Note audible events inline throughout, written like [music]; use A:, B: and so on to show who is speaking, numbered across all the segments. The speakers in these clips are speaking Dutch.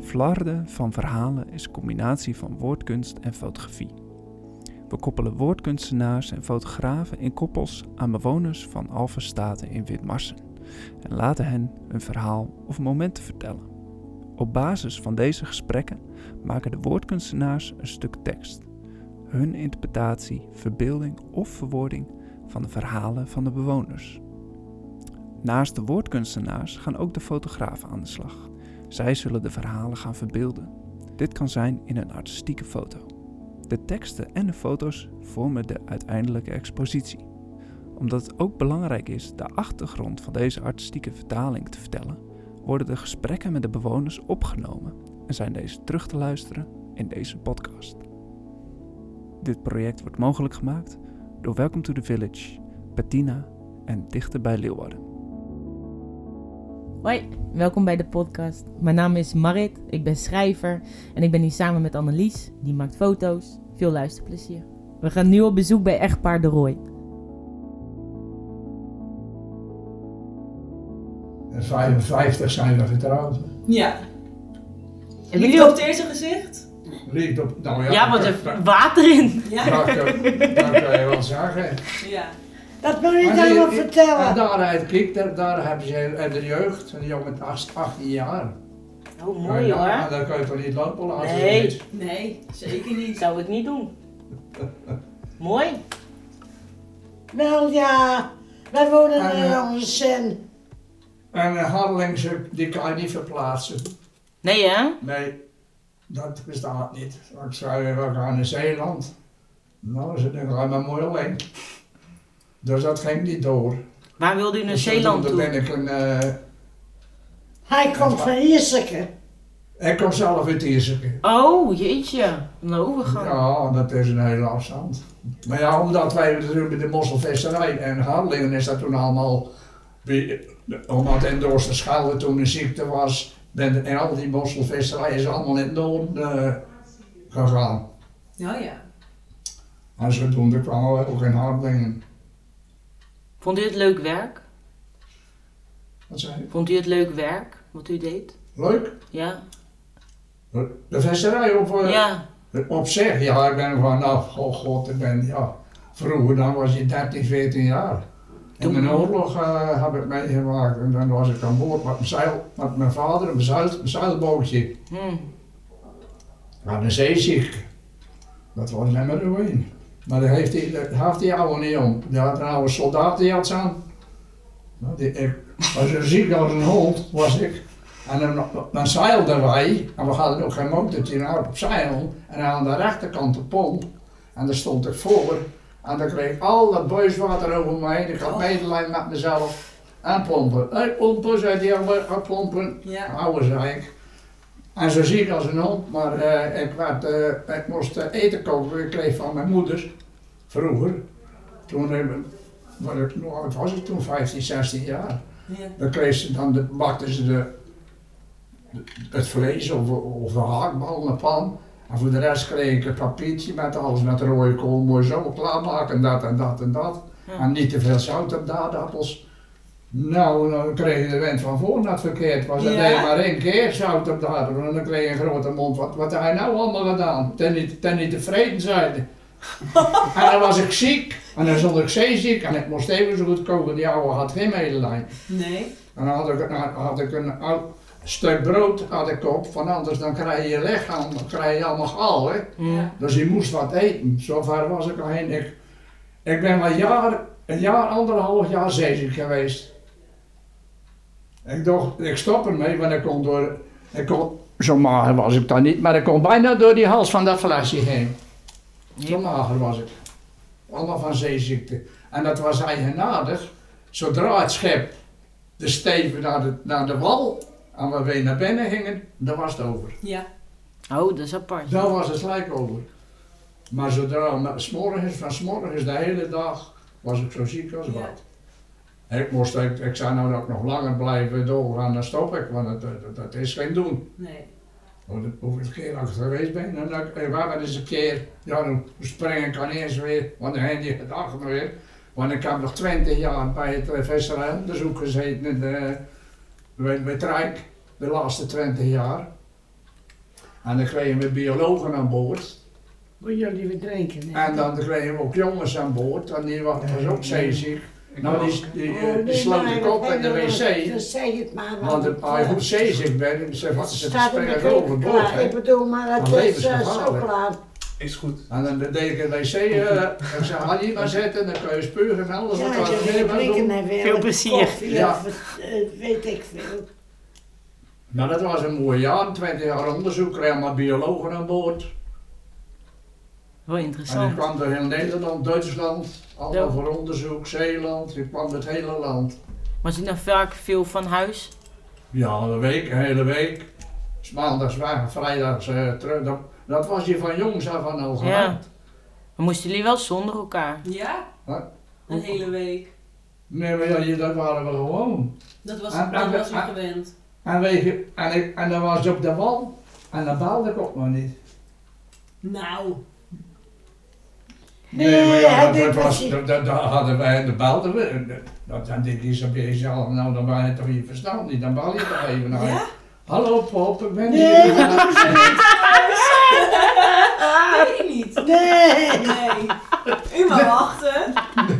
A: Flarden van verhalen is een combinatie van woordkunst en fotografie. We koppelen woordkunstenaars en fotografen in koppels aan bewoners van Alphenstaten in Witmarsen en laten hen hun verhaal of momenten vertellen. Op basis van deze gesprekken maken de woordkunstenaars een stuk tekst. Hun interpretatie, verbeelding of verwoording van de verhalen van de bewoners. Naast de woordkunstenaars gaan ook de fotografen aan de slag. Zij zullen de verhalen gaan verbeelden. Dit kan zijn in een artistieke foto. De teksten en de foto's vormen de uiteindelijke expositie. Omdat het ook belangrijk is de achtergrond van deze artistieke vertaling te vertellen, worden de gesprekken met de bewoners opgenomen en zijn deze terug te luisteren in deze podcast. Dit project wordt mogelijk gemaakt door Welcome to the Village, Bettina en Dichter bij Leeuwarden.
B: Hoi, welkom bij de podcast. Mijn naam is Marit, ik ben schrijver en ik ben hier samen met Annelies, die maakt foto's. Veel luisterplezier. We gaan nu op bezoek bij echtpaar De Roy.
C: En 55 zijn we getrouwd.
D: Ja.
B: Hebben
D: Liefde
B: jullie
D: op het eerste gezicht?
C: Liefd op, nou ja,
B: Ja, want
C: dat,
B: er water in.
D: Ja.
C: dat, dat- dat kan je wel zeggen.
D: ja.
E: Dat moet ik
C: Maar
E: dan
C: die-
E: nog
C: die- En
E: vertellen.
C: daaruit, kijk, daar, daar hebben ze en de jeugd, een jongen met 8 18 jaar.
B: Oh,
C: Nou, Daar kan je toch niet lopen laten?
B: Nee.
C: zoiets?
D: Nee, zeker niet.
B: Zou ik niet doen. Mooi.
E: Wel ja, wij wonen
C: Ah,
E: in
C: ja.
E: Andersen.
C: En een Harlingse, die kan je niet verplaatsen.
B: Nee hè?
C: Nee, dat bestaat niet. Ik zou je wel gaan naar Zeeland. Nou, ze denken, ga maar mooi alleen. Dus dat ging niet door.
B: Waar wilde u naar
C: Dus
B: Zeeland
C: toen ben
B: toe?
C: ik een... eh,
E: Hij komt van Ierseke.
C: ik kom zelf uit Ierseke.
B: Oh, jeetje. Nou, we gaan.
C: Ja, dat is een hele afstand. Maar ja, omdat wij natuurlijk met de mosselvesterij en Harlingen is dat toen allemaal... bij- Omdat in Doorste Schelde toen een ziekte was, ben, en al die mosselvesterij is allemaal in het noorden eh, gegaan.
D: Nou ja.
C: En zodoende kwamen we ook in Harlingen.
B: Vond u het leuk werk?
C: Wat zei je?
B: Vond u het leuk werk wat u deed?
C: Leuk?
B: Ja.
C: De vesterij op, eh,
B: Ja.
C: op zich, ja, ik ben gewoon af. Oh god, ik ben, ja. Vroeger dan was je 13, 14 jaar.
B: Toen-
C: In een oorlog eh, heb ik meegemaakt en dan was ik aan boord met mijn, zeil, met mijn vader, een zeil, een zeilbootje.
B: Hm.
C: Aan een zeeziek. Dat was niet meer ruïne. Maar daar heeft die, dat heeft die oude niet om. Die had een oude soldaat die had aan. Nou, die, ik was zo ziek als een hond, was ik. En dan, dan zeilden wij, en we hadden ook geen motortje, nou op zeil. En aan de rechterkant de pomp, en daar stond ik voor. En dan kreeg ik al dat buiswater over me heen. Ik had medelijden met mezelf. En pompen. Hé, pompen, zei die Ah, jongen, "Hé, pompen.
D: Ja.
C: Oude zei ik. En zo zie ik als een hond, maar eh, ik, werd, eh, ik moest eh, eten kopen. Ik kreeg van mijn moeders, vroeger. Toen eh, was ik, hoe oud was ik toen? 15, 16 jaar.
D: Ja.
C: Dan, kreeg ze, dan de, bakten ze de, de- het vlees of, of een haakbal in een pan. En voor de rest kreeg ik een papiertje met alles, met rode kool, mooi zo klaarmaken, dat en dat en dat.
B: Ja.
C: En niet te veel zout op de aardappels. Nou, dan kreeg je de wind van voren dat verkeerd was. Er
D: Ja.
C: deed maar één keer zout op de aardappel en dan kreeg je een grote mond. Wat, wat heb hij nou allemaal gedaan? Ten niet, ten niet tevreden zijn. en dan was ik ziek en dan stond ik zeeziek en ik moest even zo goed koken. Die ouwe had geen medelijden.
D: Nee.
C: En dan had ik, dan had ik een oud stuk brood had ik op, van anders dan krijg je je lichaam, dan krijg je allemaal gal. Hè?
B: Ja.
C: Dus je moest wat eten. Zover was ik al heen. Ik, ik ben wel jaar, een jaar, anderhalf jaar zeeziek geweest. Ik dacht, ik stop ermee, want ik kon door. Ik kon, zo mager was ik dan niet, maar ik kon bijna door die hals van dat flesje heen. Zo mager was ik. Allemaal van zeeziekte. En dat was eigenaardig. Zodra het schip de steven naar de, naar de wal en we weer naar binnen gingen, dan was het over.
D: Ja.
B: Oh, dat is apart.
C: Daar was het slijk over. Maar zodra, na- s morgens, van s morgens de hele dag, was ik zo ziek als wat. Ik, moest, ik, ik zei nou dat ik nog langer blijven doorgaan, dan stop ik, want dat, dat, dat is geen doen.
D: Nee.
C: Hoe- Hoeveel keer ik geweest ben, en dan, eh, waar ben eens een keer, ja dan spring ik aan eerst weer, want dan heb je het achter me weer. Want ik heb nog twintig jaar bij het eh, visserijonderzoek gezeten in de, bij, bij het Rijk, de laatste twintig jaar. En dan kregen we biologen aan boord.
E: Moet jullie weer drinken? hè?
C: En dan kregen we ook jongens aan boord. En die wa- was ook zeeziek. Nou, die, die,
E: Oh,
C: eh, die
E: nee,
C: sloot
E: maar
C: de kop
E: dat
C: in de
E: heb ik wel-
C: wc.
E: Dat zei het eh, maar.
C: Want
E: want-
C: het- als je goed zeeziek bent, dan zeg je, wat is het spelen overboord.
E: Ja,
C: hè?
E: Ik bedoel, maar
C: Maar
E: dat is eh, zo
C: levensgevaarlijk.
E: klaar.
F: Is goed.
C: En dan deed ik een wc. eh, en ze had hier maar zitten. Dan kun je spugen en alles.
E: Ja,
C: wat
E: als
C: er
E: je
C: meer
E: wil
C: wil doen.
E: drinken en weer
G: Veel
E: wat
G: plezier.
E: koffie
C: Ja.
E: of wat, eh, weet ik veel.
C: Maar Nou, dat was een mooi jaar, 20 jaar onderzoek, er allemaal biologen aan boord.
G: Wel
C: En ik
G: interessant.
C: kwam door heel Nederland, Duitsland, allemaal
G: Ja.
C: voor onderzoek, Zeeland, ik kwam het hele land.
G: Was je nou vaak veel van huis?
C: Ja, een week, een hele week. Dus maandags weg, vrijdags eh, terug. Dat, dat was je van jongs af aan al
G: Ja.
C: gewend.
G: Maar moesten jullie wel zonder elkaar?
D: Ja?
C: Wat?
D: Een hele week.
C: Nee, maar ja, je- dat waren we gewoon.
D: Dat was,
C: Ah,
D: dat
C: ah,
D: was ik
C: ah.
D: gewend.
C: En, weet je, en, ik, en dan was je op de wal en dan baalde ik ook nog niet.
D: Nou,
C: Nee, maar
E: Nee,
C: ja,
E: hij
C: dat, dat
E: deed
C: was,
E: precies-
C: dat, dat- dat hadden wij, de belden we. eh, Dat, dan denk je zo bij jezelf, nou dan waren het toch je verstand niet, dan bel je toch even naar.
D: Ja?
C: Hallo pop, ik ben
E: Nee,
C: hier.
E: dat doen ze niet.
D: dat Ah, weet ik niet.
E: Nee.
D: Nee. U mag wachten.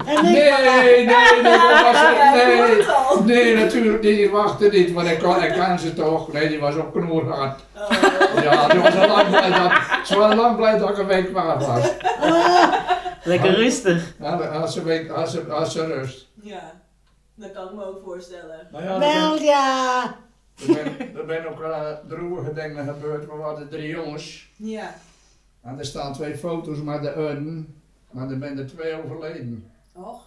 E: En
C: Nee,
E: ik
C: nee, nee, dat was
D: Ja,
C: het,
D: ik hoor
C: nee.
D: het al.
C: Oh, Nee, natuurlijk niet, die wachten niet, want ik kan, ik kan ze toch. Nee, die was ook knoerhard.
D: Oh,
C: Ja, die was al lang blij dat, ze was al lang blij dat ik een week waar was.
G: Lekker
C: Ah.
G: rustig.
C: Ja, Als ze, week, als ze, als ze rust.
D: Ja, dat kan ik me ook voorstellen.
C: Nou ja, dat
E: wel ja.
C: Er zijn- er zijn ook eh, droevige dingen gebeurd. We hadden drie jongens.
D: Ja.
C: En er staan twee foto's met de urnen. Maar er zijn er twee overleden.
D: Och.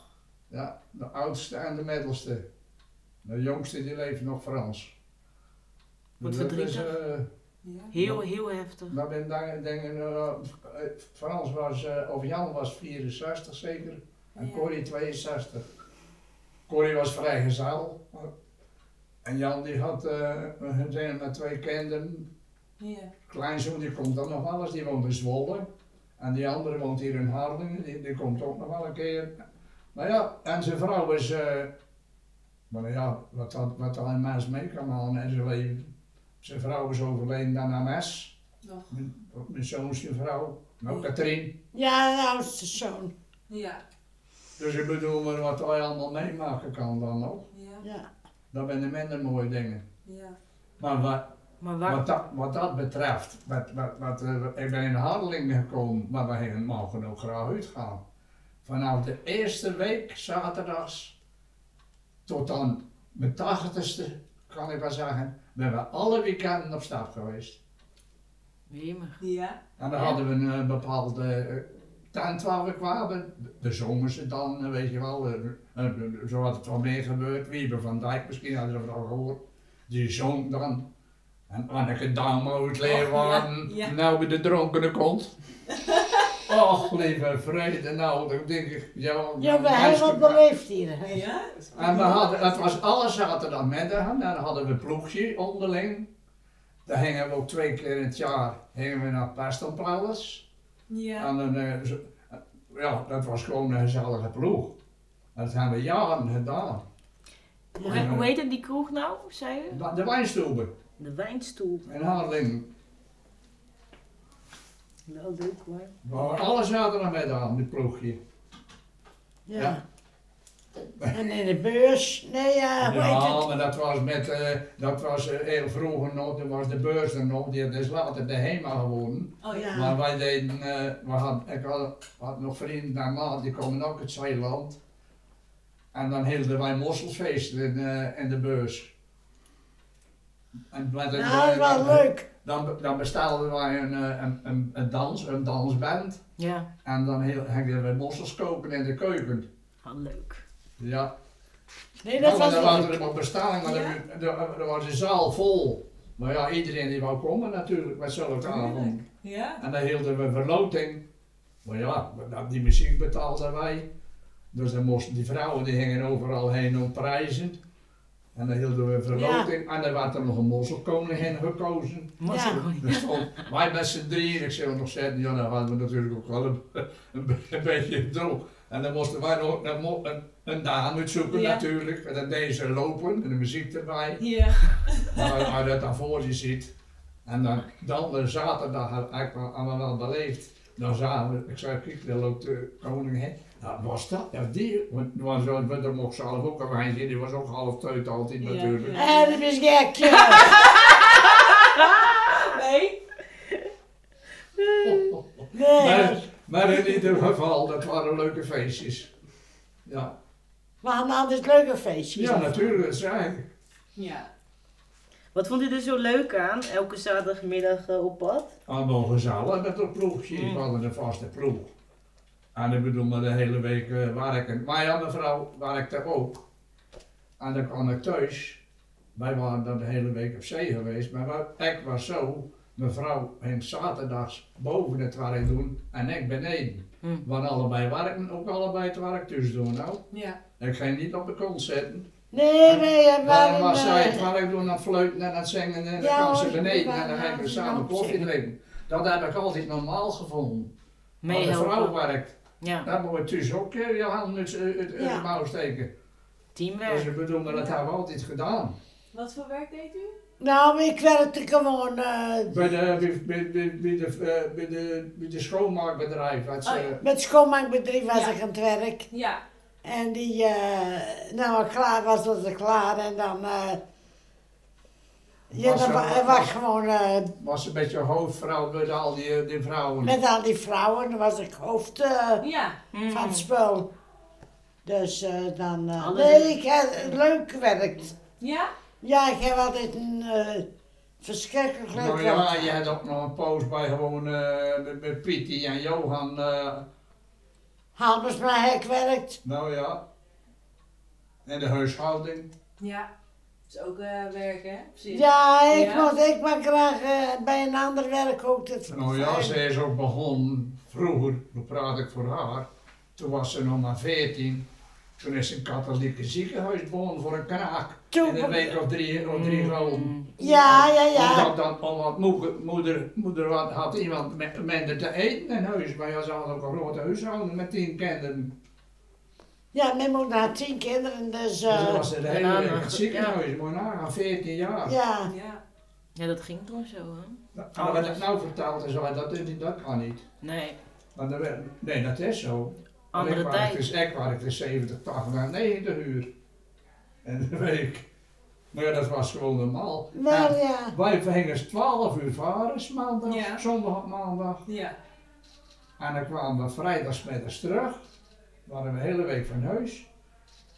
C: Ja, de oudste en de middelste. De jongste die leeft nog Frans.
G: Wat
C: dat is,
G: verdrietig.
C: eh,
D: Ja.
G: Heel, heel heftig.
C: dat ben dingen, dingen eh, eh, Frans was, eh, of Jan was 64 zeker. En
D: Ja.
C: Corrie 62. Corrie was vrijgezel. En Jan die had eh, een gezin met twee kinderen.
D: Ja.
C: kleinzoon die komt dan nog wel eens, die woont in Zwolle. En die andere woont hier in Harlingen, die, die komt ook nog wel een keer. Nou ja, en zijn vrouw is, eh, maar ja, wat, dat, wat dat een mens mee kan halen in zijn leven. Zijn vrouw is overleden aan MS,
D: Och.
C: mijn, mijn zoon zijn vrouw, nou Katrien.
E: Ja, de oudste zoon.
D: Ja.
C: Dus ik bedoel, maar wat hij allemaal meemaken kan dan ook,
D: Ja.
E: Ja.
C: dat zijn de minder mooie dingen.
D: Ja.
C: Maar wat,
G: Maar waar?
C: Wat dat, wat dat betreft, wat, wat, wat, eh, ik ben in Harlingen gekomen, maar we gingen- mogen ook graag uitgaan. Vanaf de eerste week, zaterdags, tot dan mijn tachtigste, kan ik wel zeggen, ben we alle weekenden op stap geweest.
G: Jemig.
D: Ja.
C: En dan
G: Ja.
C: hadden we een eh, bepaalde eh, tent waar we kwamen. De- De zomerse dan, eh, weet je wel, eh, eh, eh, zo had het wel meer gebeurd. Wiebe van Dijk misschien, hadden we al gehoord. Die zong dan. En Anneke Damo uit Leeuwarden,
D: ja, ja.
C: nou weer de dronkene
D: [laughs]
C: komt. Och, lieve vrede, nou, dan denk ik, ja,
E: Ja, we
C: meisje-
E: hebben wat beleefd hier. hè.
D: Ja.
C: en we hadden, dat was alle zaterdagmiddagen, dan hadden we een ploegje onderling. Dan gingen we ook twee keer in het jaar gingen we naar Paston Palace.
D: Ja.
C: En dan, eh, zo- eh, ja, dat was gewoon een gezellige ploeg. En Dat hebben we jaren gedaan.
G: Hoe, he- hoe heette die kroeg nou, zei je?
C: De- De wijnstoelbe
G: De wijnstoel.
C: in Harlingen.
G: Wel leuk hoor.
C: We hadden alle zaterdagmiddagen die ploegje.
E: Ja. En in de beurs. Nee, ja, hoe heet
C: Ja,
E: het?
C: maar dat was met, eh, dat was eh, heel vroeger nog, toen was de beurs er nog, die is later de HEMA geworden.
D: Oh
E: Ah.
D: ja.
C: Maar wij deden, eh, we had, ik had, had nog vrienden en maat, die komen ook uit Zeeland. En dan hielden wij mosselfeesten in, eh, in de beurs. En met een-
E: Nou, dat is wel leuk.
C: Dan, dan bestelden wij een, eh, een, een, een dans, een dansband.
G: Ja,
C: En dan heel- gingen we mossels koken in de keuken.
G: ah, leuk.
C: Ja,
E: Nee, dat
C: nou, maar
E: was
C: dan
E: leuk.
C: waren er nog bestellingen, maar
D: Ja.
C: er- er- er eh, was de zaal vol. Maar ja, iedereen die wou komen natuurlijk, met zulke avond.
D: Ja.
C: En dan hielden we verloting. Maar ja, dat- die muziek betaalden wij. Dus dan moesten die vrouwen die gingen overal heen om prijzen. En dan hielden we verloting. En dan werd er nog een mosselkoningin gekozen.
G: Mooi
E: Ja.
G: hoor.
C: Dus om- wij met z'n drieën, ik zou nog zeggen, ja, dan hadden we natuurlijk ook wel een, een, be- een beetje droog. En dan moesten wij nog een, mo- een, een dame uitzoeken
D: Ja.
C: natuurlijk. En dan deden ze lopen en de muziek erbij.
D: Ja.
C: Maar als je dat dan voor je ziet, En dan, dan de zaterdag had ik wel allemaal wel beleefd. Dan zagen we, ik zei, kijk, daar loopt de koning heen. Nou, was dat ja, die? Want er was, want er mocht zelf ook een wijn zien, die was ook half teut altijd
D: Ja,
C: natuurlijk.
D: ja.
E: Ah, dat is gek,
C: [laughs]
E: ja.
D: Nee?
E: Nee,
C: Maar, maar in ieder geval, dat waren leuke feestjes. Ja,
E: we hadden altijd leuke feestjes.
C: ja natuurlijk, dat zei ik.
D: Ja.
G: Wat vond je er zo leuk aan, elke zaterdagmiddag eh, op pad?
C: Allemaal gezellig met dat ploegje. We hadden een vaste ploeg. En ik bedoel, maar de hele week eh, werken. Maar ja, mevrouw werkte ook. En dan kwam ik thuis. Wij waren dan de hele week op zee geweest. Maar wat- ik was zo, mevrouw ging zaterdags boven het werk doen en ik beneden.
B: Hm.
C: Want allebei werken, ook allebei het werk dus doen. Nou,
D: Ja.
C: ik ging niet op de kont zitten.
E: Nee, nee, we
C: Maar dan
E: waren...
C: was zij het
E: eh,
C: werk doen, dan fluiten en dan zingen en dan
E: Ja,
C: kwam ze
E: hoor,
C: beneden en dan
E: ja,
C: gingen we
E: ja,
C: samen
E: ja,
C: koffie
E: zeker.
C: drinken. Dat heb ik altijd normaal gevonden. Als een vrouw
B: Meehelpen.
C: werkt,
B: Ja,
C: dan moet je dus ook eh, je hand uit, uit, uit
E: Ja.
C: de mouw steken. Dus
B: teamwerk.
C: ik bedoel, maar dat hebben we altijd gedaan.
D: Wat voor werk deed u?
E: Nou, ik werkte gewoon... eh,
C: Bij de, bij, bij, bij, bij de, eh, bij de, bij de schoonmaakbedrijf. had ze-
D: Oh ja.
E: met schoonmaakbedrijf was
D: Ja.
E: ik aan het werk.
D: Ja.
E: En die, eh, nou, ik klaar was, was ik klaar. En dan, eh ja,
C: Was
E: dan
C: er-
E: wa- was, was gewoon eh,
C: Was een beetje hoofdvrouw met al die, die vrouwen.
E: met al die vrouwen, dan was ik hoofd eh,
D: Ja.
G: Mm.
E: van het spul. Dus eh, dan, eh,
G: Alles
E: nee, ik heb leuk gewerkt.
D: Ja?
E: Ja, ik heb altijd een eh, verschrikkelijk leuk
C: Nou ja,
E: werk.
C: je had ook nog een poos bij gewoon eh, met, met Pietie en Johan. eh,
E: Halbers maar heb ik gewerkt.
C: nou ja. En de huishouding.
D: Ja. Dat is ook eh, werk, hè? Precies.
E: Ja, ik,
D: Ja.
E: Mocht, ik mag graag eh, bij een ander werk ook. Dat
C: Nou ja, zij is ook begonnen vroeger, toen praat ik voor haar. Toen was ze nog maar 14. Toen is ze een katholieke ziekenhuis begonnen voor een kraak.
E: Toen-
C: In een week of drie, of
G: Mm.
C: drie gulden.
E: ja, ja, ja.
C: Omdat dan al wat moeder, moeder, moeder had, had iemand me- minder te eten in huis. Maar ja, ze had ook een grote huishouden met tien kinderen.
E: Ja, mijn moeder had tien kinderen, dus...
C: Dus
E: eh,
C: dat was ze de hele
B: ja,
C: week in
B: maar
C: het
B: goed,
C: ziekenhuis. Maar na 14 jaar.
E: ja.
D: Ja.
B: Ja, dat ging toen zo, hè?
C: Nou, en wat ik nou vertelde, zei hij, dat, is- dat kan niet.
B: Nee,
C: Want er werd- nee, dat is zo. Maar
B: andere
C: ik werkte
B: tijd.
C: dus, ik werkte 70, 80 en 90 uur in de week. Maar nou ja, dat was gewoon normaal.
E: Maar
C: En
E: ja,
C: wij gingen 12 uur varen, 's maandag,
D: Ja.
C: zondag op maandag.
D: Ja.
C: En dan kwamen we vrijdagsmiddags terug. Waren we de hele week van huis.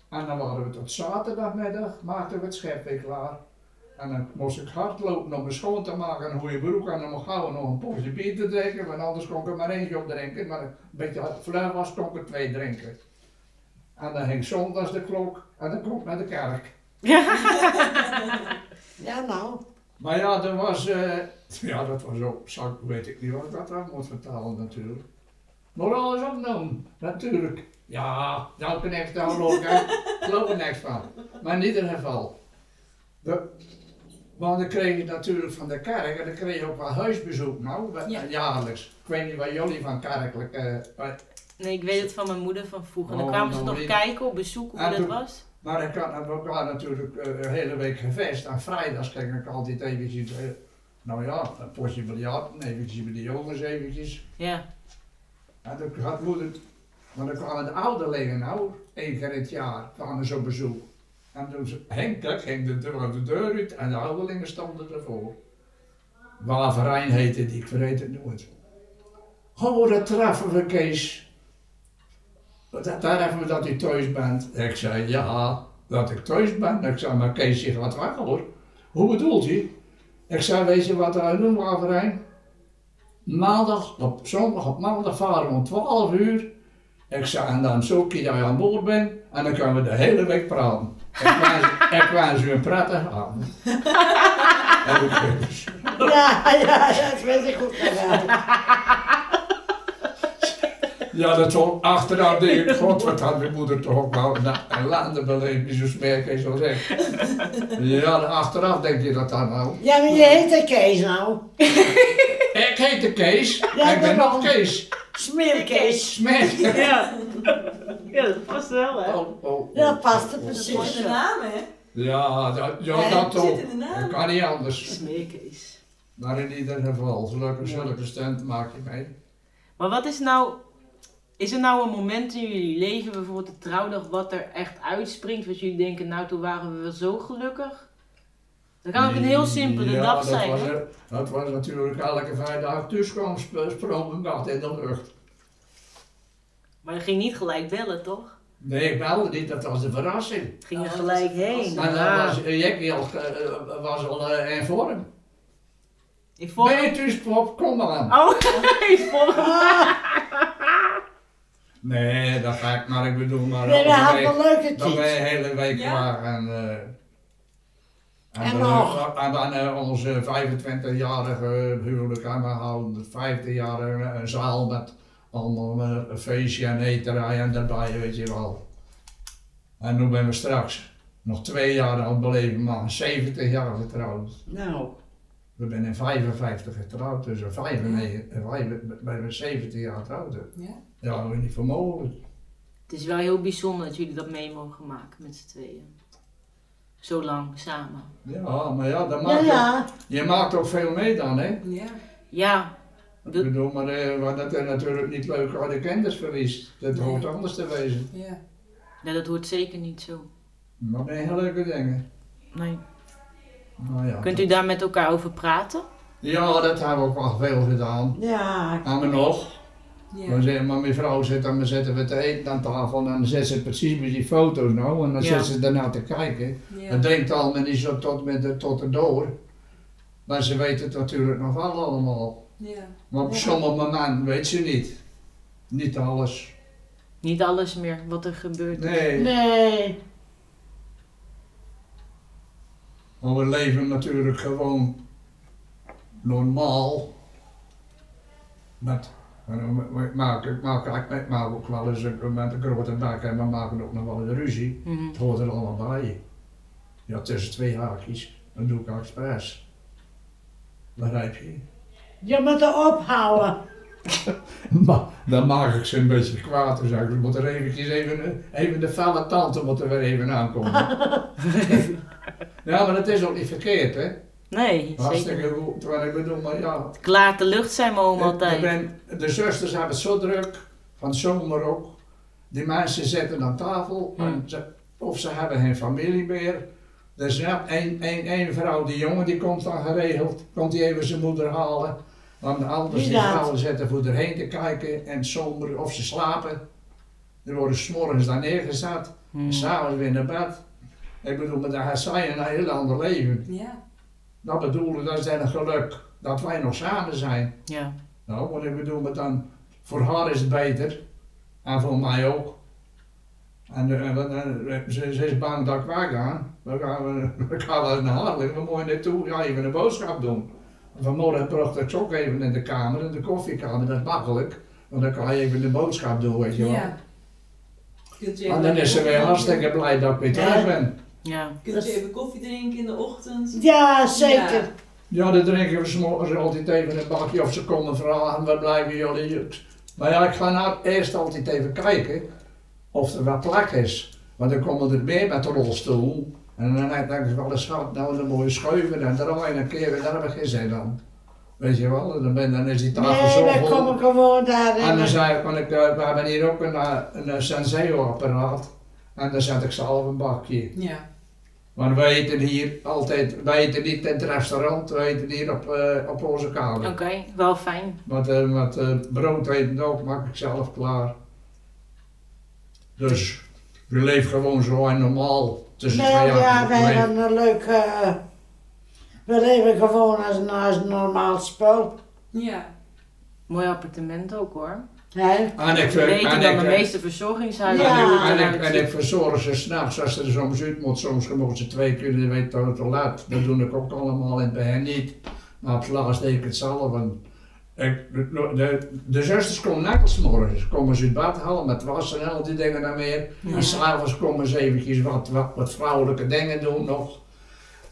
C: En dan waren we tot zaterdagmiddag, maakten we het schep weer klaar. En dan moest ik hardlopen om me schoon te maken, een goede broek aan, om gauw nog een potje bier te drinken. Want anders kon ik er maar eentje op drinken. Maar een beetje vlug was, kon ik er twee drinken. En dan ging zondags de klok en dan kon ik naar de kerk.
E: ja nou.
C: Maar ja, dat was, eh, ja, dat was ook, zal ik- weet ik niet wat ik dat aan moet vertalen natuurlijk. Moraal is opgenomen, natuurlijk. Ja, daar ben ik daar ook, hè. Ik geloof er niks van. Maar in ieder geval. De, want dan kreeg je natuurlijk van de kerk, en dan kreeg je ook wel huisbezoek nou, wa-
D: Ja.
C: jaarlijks. Ik weet niet wat jullie van kerkelijk, eh, maar-
G: Nee, ik weet het van mijn moeder van vroeger. Dan
C: Oh,
G: kwamen ze
C: nou
G: toch
C: weet-
G: kijken op bezoek hoe
C: Ah,
G: dat
C: toen-
G: was.
C: Maar ik had, we waren natuurlijk eh, een hele week gevest. En vrijdags ging ik altijd eventjes, eh, nou ja, een potje biljarten, eventjes met de jongens eventjes.
G: Ja.
C: En toen Nou, had moeder, want dan kwamen de ouderlingen nou, één keer in het jaar, kwamen ze op bezoek. En toen ze- Henk dat ging de deur, de deur uit en de ouderlingen stonden ervoor. Waverijn heette die, ik vergeet het nooit. Oh, dat treffen we, Kees. Dat treffen we dat u thuis bent. Ik zei, ja, dat ik thuis ben. Ik zei, maar Kees, je gaat weg hoor. Hoe bedoelt u? Ik zei, weet je wat wij doen, Waverijn? Maandag, op zondag, op maandag varen we om 12 uur. Ik zei, en dan zoek je dat je aan boord bent. En dan kunnen we de hele week praten. Ik wens- [laughs] Ik wens u een prettige [laughs] avond. En ik ging dus.
E: Ja, [laughs] ja, ja, dat weet ik ook nog wel.
C: Ja, dat zo achteraf denk ik, god, wat had mijn moeder toch ook wel een ellende beleefd, die zo smerk is als ik. Ja, achteraf denk je dat dan nou.
E: Ja, maar je heette Kees nou.
C: Ik heet de Kees,
E: Ja,
C: ik ben
E: daarom.
C: nog Kees.
E: Smeerkees.
C: Smerk.
G: Ja. ja, dat past wel, hè?
C: Oh, oh,
E: Ja,
C: oh.
E: Dat paste
D: Dat is
E: precies.
D: de naam, hè?
C: Ja, dat, ja,
D: Ja,
C: dat
D: het zit
C: ook.
D: in de naam.
C: Dat kan niet anders.
G: Smeerkees.
C: Maar in ieder geval, zulke, zulke stand maak je mee.
G: Maar wat is nou... Is er nou een moment in jullie leven, bijvoorbeeld de trouwdag, wat er echt uitspringt? Wat jullie denken, nou toen waren we wel zo gelukkig. Dat kan ook een heel simpele
C: Ja,
G: dag
C: dat
G: zijn.
C: Was,
G: hè?
C: er- dat was natuurlijk elke vrijdag tussenkwam, sp- sprong een nacht in de lucht.
G: Maar dat ging niet gelijk bellen, toch?
C: Nee, ik belde niet, dat was de verrassing.
G: Het ging
D: Oh,
G: er
D: dat
G: gelijk
D: was een
G: heen. Ah.
C: Maar
D: verrassing.
G: Ja.
C: dat was, eh, Jackie al, eh, eh, was al eh, in vorm.
G: Ik vond...
C: Betus Pop, kom aan.
G: Oh, [laughs] ik vond...
C: Nee, dat ga ik maar, ik bedoel maar.
E: Nee, dat
C: over
E: had
C: week-
E: een leuke
C: Dat wij
E: tijd.
C: de hele week
D: Ja.
C: waren. En, eh,
E: En
C: dan,
E: nog.
C: eh, En dan eh, onze 25-jarige huwelijk en we hadden de 50-jarige zaal met allemaal eh, een feestje en eterij en daarbij, weet je wel. En nu ben we straks nog twee jaar aan het beleven, maar 70 jaar getrouwd.
E: Nou,
C: We zijn in 55 getrouwd, dus in 95 en wij ben we 70 jaar getrouwd.
D: Ja?
C: Ja, dat is niet voor mogelijk.
G: Het is wel heel bijzonder dat jullie dat mee mogen maken met z'n tweeën. Zo lang samen.
C: Ja, maar ja, dat
E: ja,
C: maakt
E: ja.
C: ook- je maakt ook veel mee dan, hè?
D: Ja.
G: Ja,
C: Ik bedoel, maar eh, wat dat er natuurlijk niet leuk aan de kennis verliest. Dat hoort anders te wezen.
D: Ja.
G: nee, dat hoort zeker niet zo.
C: Maar nee, hele leuke dingen.
G: Nee.
C: Nou ja.
G: Kunt u daar met elkaar over praten?
C: Ja, dat hebben we ook wel veel gedaan.
E: Ja,
C: En we nog.
D: Ja.
C: We zeggen, maar mijn vrouw zit dan, we zetten we te eten aan tafel en dan zit ze precies met die foto's nou en dan
G: Ja.
C: zit ze daarna te kijken.
D: Ja.
C: Dan denkt al men niet zo tot, met de, tot de door. Maar ze weet het natuurlijk nog wel allemaal.
D: Ja.
C: Maar op
E: Ja.
C: sommige momenten weet ze niet. Niet alles.
G: Niet alles meer wat er gebeurt.
C: Nee.
E: nee.
C: Maar we leven natuurlijk gewoon normaal. Met, en we- we maken, ik maak, ik maak- ik maak ook wel eens een- met een grote bek en we maken ook nog wel eens ruzie.
D: Mm.
G: Mhm.
C: Het hoort er allemaal bij. Ja, tussen twee haakjes. Dat doe ik expres. Begrijp je? [laughs]
E: Je moet er ophouden.
C: Maar dan maak ik ze een beetje kwaad. Dus eigenlijk moet er eventjes even, even de felle tante moet er weer even aankomen. ja, maar dat is ook niet verkeerd, hè?
G: Nee, zeker
C: Hartstikke
G: niet.
C: goed. Terwijl ik bedoel, maar ja,
G: Klaar de lucht zijn mijn oom
C: Ik
G: altijd.
C: ben- de zusters hebben het zo druk, van zomer ook. Die mensen zitten aan tafel, en
G: Hmm.
C: ze- of ze hebben geen familie meer. Er is net één één- één vrouw, die jongen, die komt dan geregeld, komt die even zijn moeder halen. Want de anders die
E: Inderdaad.
C: vrouwen zitten voor erheen te kijken en somber, of ze slapen. Er worden s'morgens daar neergezet,
G: Mhm.
C: en s'avonds weer naar bed. Ik bedoel, maar daar zij een heel ander leven.
D: Ja.
C: Dat bedoel ik, dat is dan een geluk, dat wij nog samen zijn.
G: Ja.
C: Nou, wat ik bedoel, maar dan, voor haar is het beter. En voor mij ook. En eh, want, eh, ze, ze is bang dat ik wegga. We gaan, eh, [laughs] we, we gaan wel naar Haarlem, we moeten naartoe, ja, even een boodschap doen. Vanmorgen bracht ik ze ook even in de kamer, in de koffiekamer, dat is makkelijk. Want dan kan je even de boodschap doen, weet je wel.
D: Ja. Kunt u
C: En dan is ze weer hartstikke blij dat ik weer terug ben.
G: Ja.
D: Kunt u even koffie drinken in de ochtend?
E: Ja, zeker.
C: Ja, dan drinken we 's morgens altijd even een bakje of ze komen vragen, waar blijven jullie hier? Maar ja, ik ga nou eerst altijd even kijken of er wat plek is. Want dan komen er meer met de rolstoel. En dan denk ik wel eens, schat, nou dan moet je schuiven en draaien en keren, daar heb ik geen zin aan. Weet je wel, dan, ben, dan is die tafel
E: Nee,
C: zo
E: we
C: vol.
E: komen gewoon
C: En Ah, dan
E: daarin.
C: zei ik, want ik, eh, we hebben hier ook een, eh, een, eh, Senseo-apparaat. En dan zet ik zelf een bakje.
D: Ja.
C: Maar wij eten hier altijd, wij eten niet in het restaurant, wij eten hier op, eh, op onze kamer.
G: Oké, wel fijn.
C: Wat, eh, wat eh, brood eten ook, maak ik zelf klaar. Dus je leeft gewoon zo en normaal tussen
E: Nou
C: twee
E: ja,
C: jaar.
E: wij hebben een leuke... eh, we leven gewoon als een, als een normaal spul.
D: Ja.
G: Mooi appartement ook hoor.
E: hè?
C: En ik, ver-
G: Beter
C: en
G: dan
C: ik,
G: de
C: eh,
G: meeste verzorgingshuizen.
E: Ja.
G: die
C: en,
G: eruit
C: ik, en
G: zien.
C: ik verzorg ze s'nachts als ze er soms uit moet. Soms mogen ze twee keer in de week te, te laat. Dat doe ik ook allemaal en bij hen niet. Maar op het laatst deed ik het zelf. En ik, de, de, de zusters komen nachts morgens. Komen ze uit bad halen met was en al die dingen dan meer. En s'avonds komen ze eventjes wat, wat, wat vrouwelijke dingen doen nog.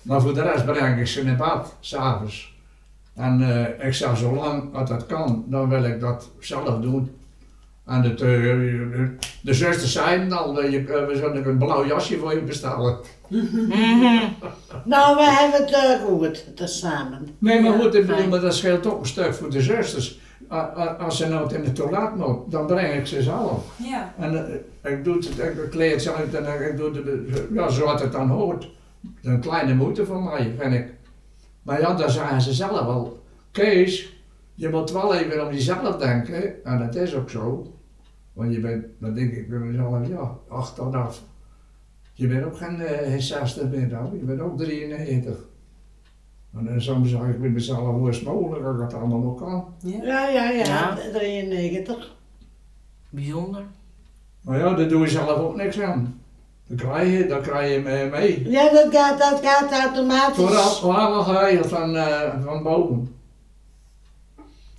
C: Maar voor de rest breng ik ze in bad, s'avonds. En eh, ik zeg, zolang dat dat kan, dan wil ik dat zelf doen. Aan het, eh, de, de zuster zei hem al, eh, je- eh, we zullen een blauw jasje voor je bestellen.
G: Mhm.
E: Nou, we hebben het leuk goed, tezamen.
C: Nee, maar
G: Ja,
C: goed, ik bedoel,
G: fijn.
C: maar dat scheelt ook een stuk voor de zusters. A- a- Als ze nou het in de toilet moet, dan breng ik ze zelf.
D: Ja.
C: En eh, ik doe het, ik kleed ze uit en ik doe het, eh, ja, zoals het dan hoort. Een kleine moeite van mij, vind ik. Maar ja, dan zeggen ze zelf al, Kees, je moet wel even om jezelf denken. En dat is ook zo. Want je bent, dan denk ik bij mezelf, ja, ach dan af. Je bent ook geen eh, 60 meer dan, je bent ook 93. En dan soms zeg ik bij mezelf, hoe is het mogelijk dat ik dat allemaal nog kan?
D: Ja.
E: Ja, ja, ja,
G: Ja.
E: 93.
G: Bijzonder.
C: Maar ja, daar doe je zelf ook niks aan. Dan krijg je, dan krijg je mee. mee.
E: Ja, dat gaat, dat gaat automatisch.
C: Vooral, vooral geregeld van, eh, van boven.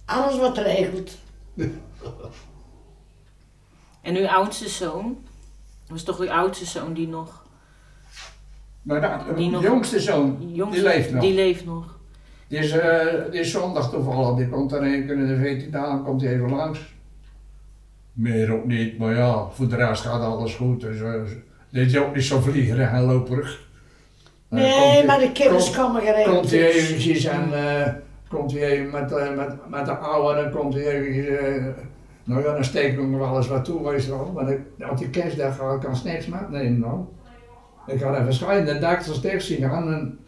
E: Alles wat regelt.
G: En uw oudste zoon? Dat was toch uw oudste zoon die nog...
C: Maar Nou, dat,
G: Die
C: de
G: nog-
C: jongste zoon,
G: die
C: die leeft nog.
G: Die
C: Die,
G: leeft nog.
C: is, eh, die is zondag toevallig, die komt dan even in de 14 dagen, komt hij even langs. Meer ook niet, maar ja, voor de rest gaat alles goed. Dus, eh, dit is ook niet zo vliegerig en loperig. Dan komt
E: Nee,
C: hij-
E: maar de kinderen
C: komt-
E: komen geregeld.
C: Komt hij eventjes en eh, komt hij even met, eh, met, met de oude, dan komt hij eventjes, eh, nou ja, dan steek ik hem wel eens wat toe, weet je wel. Want ik, op die kerstdag ga ik als niks meenemen dan. Ik ga even schijnen, de dag als tekst zien gaan en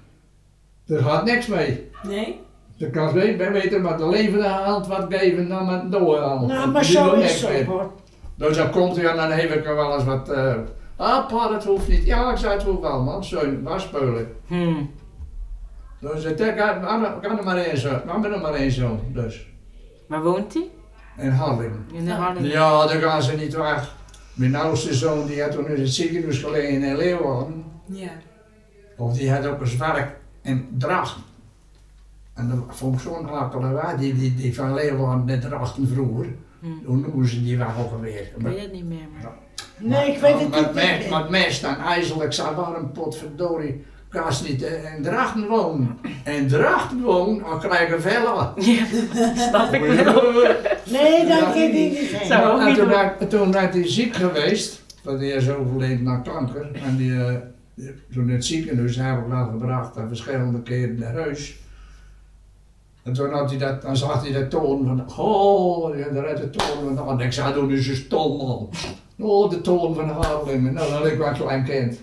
C: er gaat niks mee.
D: Nee?
C: De kan we- we weten met de levende hand wat geven dan met dood hand.
E: Nou, maar
C: Die
E: zo
C: doen
E: is
C: niks meer.
E: het hoor.
C: Dus dan komt hij en dan heb ik er wel eens wat, eh, ah pa, dat hoeft niet. Ja, ik zei het hoeft wel man, zo'n waspeulen.
G: Hmm.
C: Dus ik denk, kan er maar één zo, kan er maar één zo, dus.
G: Waar woont hij?
C: In Harlingen.
G: In de Harlem.
C: Ja, daar gaan ze niet weg. Mijn oudste zoon, die had toen in het ziekenhuis gelegen in Leeuwarden.
D: Ja.
C: Of die had ook eens werk in Drachten. En dat vond ik zo'n akkelenwaar, die, die, die van Leeuwarden naar Drachten vroeger.
G: Hmm.
C: Toen noemen ze die weg alweer.
G: Ik weet het niet meer. Maar...
E: Nee, ik weet het
C: maar,
E: niet.
C: Maar, maar, maar mensen staan ijzerlijk, ze waren potverdorie. Kan ze niet eh, in Drachten wonen. In Drachten wonen, dan krijg ik vellen.
G: Ja, snap ik wel. [laughs]
E: Nee, dat kan die niet zijn.
G: Zo.
C: Nou,
G: ook
C: en
G: Oh, niet
C: toen,
G: doen.
C: werd, toen werd hij ziek geweest, want hij is overleden aan kanker. En die, eh, die- toen in het ziekenhuis hebben we laten gebracht en verschillende keren naar huis. En toen had hij dat, dan zag hij dat toon van, oh, ja, daar had de toon van, oh, ik zei, doe nu zo'n stom man. Oh, de toon van Harlingen. Nou, dan had ik wel een klein kind.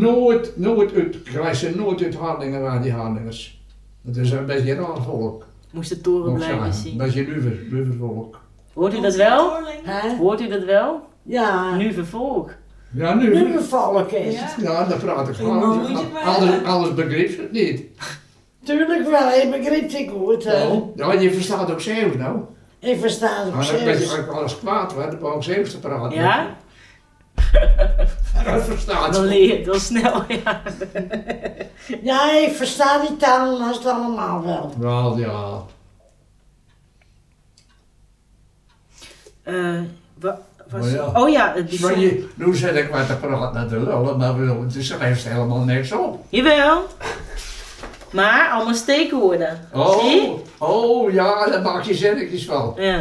C: nooit, nooit uit, ik krijg ze nooit uit Harlingen waar die Harlingers. Dat is een beetje een raar volk.
G: Moest de toren
C: moet ik
G: blijven
C: zeggen. Een
G: zien.
C: beetje een luver, luvervolk.
G: Hoort u dat wel?
E: Hè?
G: Hoort u dat wel?
E: Ja,
G: Nu vervolg. [laughs]
C: Ja, nu.
E: nu bevallen is het.
D: Ja.
C: Ja, dat praat ik
D: Ja,
C: gewoon.
D: moet je het maar
C: Anders,
D: hebben.
C: anders begreep ze het niet.
E: Tuurlijk wel, ik begrijp het goed. hè.
C: Nou, Ja, je verstaat ook Zeeuws nou.
E: Ik versta het ook
C: Als ik als
E: serieus.
C: ik alles kwaad werd, dan begon ik Zeeuws te praten.
G: Ja?
C: Dat verstaat
G: Dan
C: ze.
G: leer je het wel snel. Ja.
E: Ja, ik versta die talen als het allemaal wel.
C: Wel ja.
G: Eh, wa- was-
C: Maar ja.
G: Oh ja, het
C: Maar
G: bijzonder.
C: je, nu zit ik maar te praten naar de lullen, maar bedoel, het schrijft helemaal niks op.
G: Jawel. Maar allemaal steekwoorden. Zie?
C: Oh, oh ja, daar maak je zinnetjes van.
G: Ja.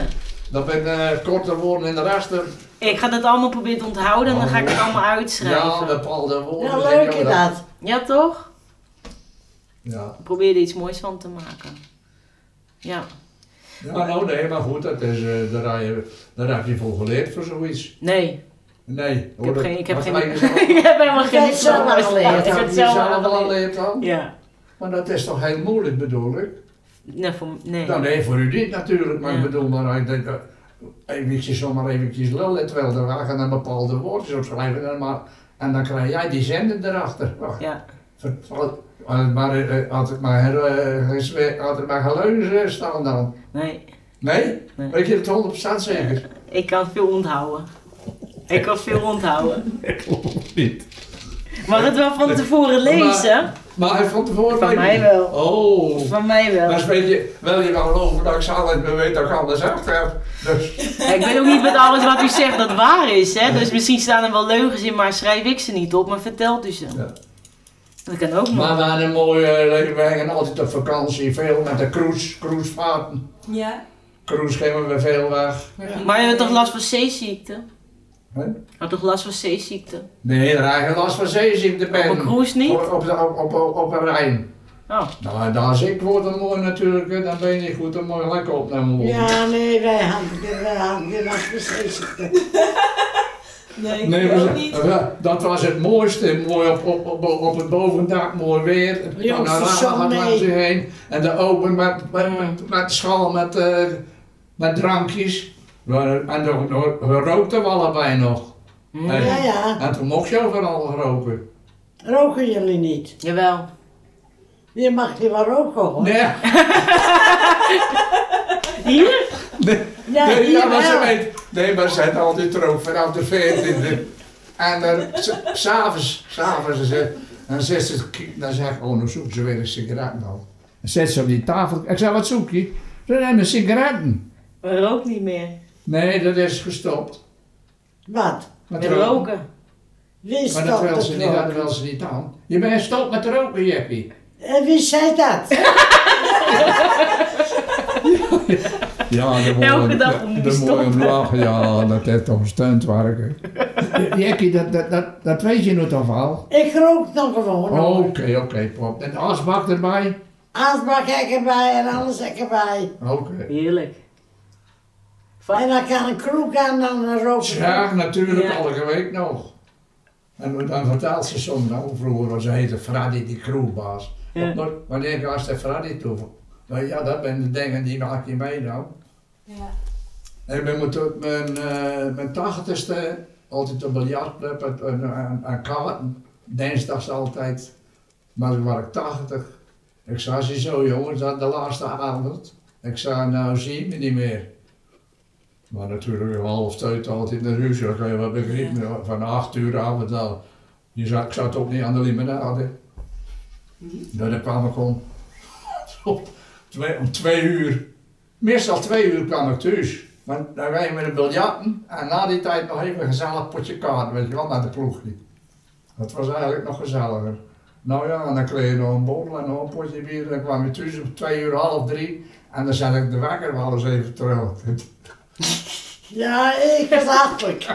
C: Dat ben eh korte woorden in de raster.
G: Ik ga dat allemaal proberen te onthouden en dan ga ik het allemaal
C: Oh. Ja,
G: uitschrijven.
C: bepaalde woorden.
E: Ja, leuk
C: Ja,
E: inderdaad.
G: Ja, toch?
C: Ja.
G: Ik probeer er iets moois van te maken. Ja.
C: ja, nou nee, maar goed, dat is, eh, daar, heb je, daar heb je voor geleerd voor zoiets.
G: Nee,
C: Nee,
G: ik heb geen... Ik heb, geen, ik [laughs]
C: Ik
G: heb helemaal geen...
E: het zelf
G: diploma.
E: aangeleerd.
G: Ik heb het zelf
C: zelf wel
G: aangeleerd.
C: geleerd dan.
G: Ja.
C: Maar dat is toch heel moeilijk bedoel ik?
G: Nee, voor, nee.
C: Nou nee, voor u niet natuurlijk, maar ik
G: Ja.
C: bedoel maar ik denk dat eventjes zomaar eventjes lullen terwijl er wagen en bepaalde woordjes opschrijven en, maar, en dan krijg jij die zender erachter. Wacht,
G: Ja.
C: ver- ver- Als het maar, eh, als het maar, eh, geswe- als het maar geleuzen staan dan.
G: Nee.
C: Nee?
G: Nee.
C: Weet je het 100% zeker?
G: Ik kan veel onthouden. Ik kan veel onthouden.
C: [laughs] Ik geloof niet.
G: Mag het wel van tevoren lezen?
C: Maar hij vond tevoren
G: Van
C: weet
G: mij
C: ik-
G: wel.
C: Oh.
G: Van mij wel.
C: Maar weet je, wil je wel geloven dat ik ze altijd beweet dat ik anders achter heb. Dus,
G: Ja, ik weet ook niet met alles wat u zegt dat waar is, hè? Dus misschien staan er wel leugens in, maar schrijf ik ze niet op, maar vertelt u ze.
C: Ja.
G: Dat kan ook nog.
C: [laughs] maar we hadden eh, een mooie leven, wij gingen altijd op vakantie, veel met de cruise, cruisevaarten.
D: Ja.
C: cruiseschepen weer veel weg.
G: Maar je hebt toch last van zeeziekte?
C: Hè?
G: Had toch last van zeeziekte?
C: Nee, daar heb je last van zeeziekte ben.
G: Op een cruise niet?
C: Op, op, de- op, op, op, op een Rijn.
G: Oh.
C: Nou, daar is ik word dan mooi natuurlijk, hè, dan ben je niet goed, dan moet je lekker opnemen worden.
E: Ja, nee, wij hadden wij hadden geen last van zeeziekte.
D: Nee, ik
C: Nee,
D: ook
C: we-
D: niet.
C: we- dat was het mooiste. Mooi op, op, op, op het bovendak, mooi weer. Het
E: Ja,
C: kwam naar
E: de
C: laag,
E: zon
C: had
E: mee.
C: langs u heen. En de open met, met,
G: Mm.
C: met, met schal, met, eh, met drankjes. We- En dan- dan- we rookten we allebei nog.
G: Hm.
C: Nee.
E: Ja, ja.
C: En toen mocht je overal roken.
E: Roken jullie niet?
G: Jawel.
E: Je mag niet wel roken hoor.
C: Nee,
G: Hier?
E: Ja,
C: nee,
E: hier
C: ja, maar ze
E: wel.
C: weet, nee, maar ze had altijd rook vanaf de 14e. En dan s- s'avonds, s'avonds, dan zegt- dan zegt ze, dan zeg ik, oh, dan zoekt ze weer een sigaret nou. Dan zet ze op die tafel, ik zeg, wat zoek je? Ze nemen sigaretten.
G: We rook niet meer.
C: Nee, dat is gestopt.
E: Wat?
C: Met
G: We roken.
E: Wie
C: Maar dat
E: stopt
C: wil
E: het
C: ze niet, dat
E: roken?
C: wil ze niet aan. Je bent gestopt met roken, Jeppie.
E: En wie zei dat?
C: Ja, de
G: mooie- Elke dag de- opnieuw de mooie stoppen.
C: ja, dat heeft toch stunt werken. [laughs] Jeppie, dat, dat, dat, dat weet je nog toch al?
E: Ik rook nog gewoon.
C: Oké,
E: hoor.
C: oké, pop. En de asbak erbij?
E: Aanspraak heb ik erbij en alles heb ik erbij.
C: Oké.
G: Heerlijk.
E: En dan kan een kroeg aan dan een rook.
C: Ja, natuurlijk,
G: Ja.
C: elke week nog. En dan vertelt ze soms, nou vroeger was ze heette Freddy die kroegbaas.
G: Ja.
C: Maar Wanneer gaat ze Freddy toe? Nou ja, dat zijn de dingen die maak je mee nou.
D: Ja.
C: Ik ben met tot mijn, eh, mijn tachtigste altijd een biljartclub en- en en- en kaarten. Dinsdags altijd. Maar toen was ik tachtig. Ik zei ze zo jongens, dat de laatste avond. Ik zei nou zie je me niet meer. Maar natuurlijk om half twee altijd naar huis. Dan kan je wel begrijpen. Van acht uur avond al. Je zat, ik zat ook niet aan de limonade. Nou, dan kwam ik om, [laughs] om twee, om twee uur. Meestal twee uur kwam ik thuis. Want dan wij met een biljarten en na die tijd nog even een gezellig potje kaart, weet je wel, naar de ploegje. Dat was eigenlijk nog gezelliger. Nou ja, en dan kreeg je nog een borrel en nog een potje bier. En dan kwam je thuis om twee uur, half drie. En dan zat ik de wekker wel eens even terug.
E: Ja, ik was achterlijk.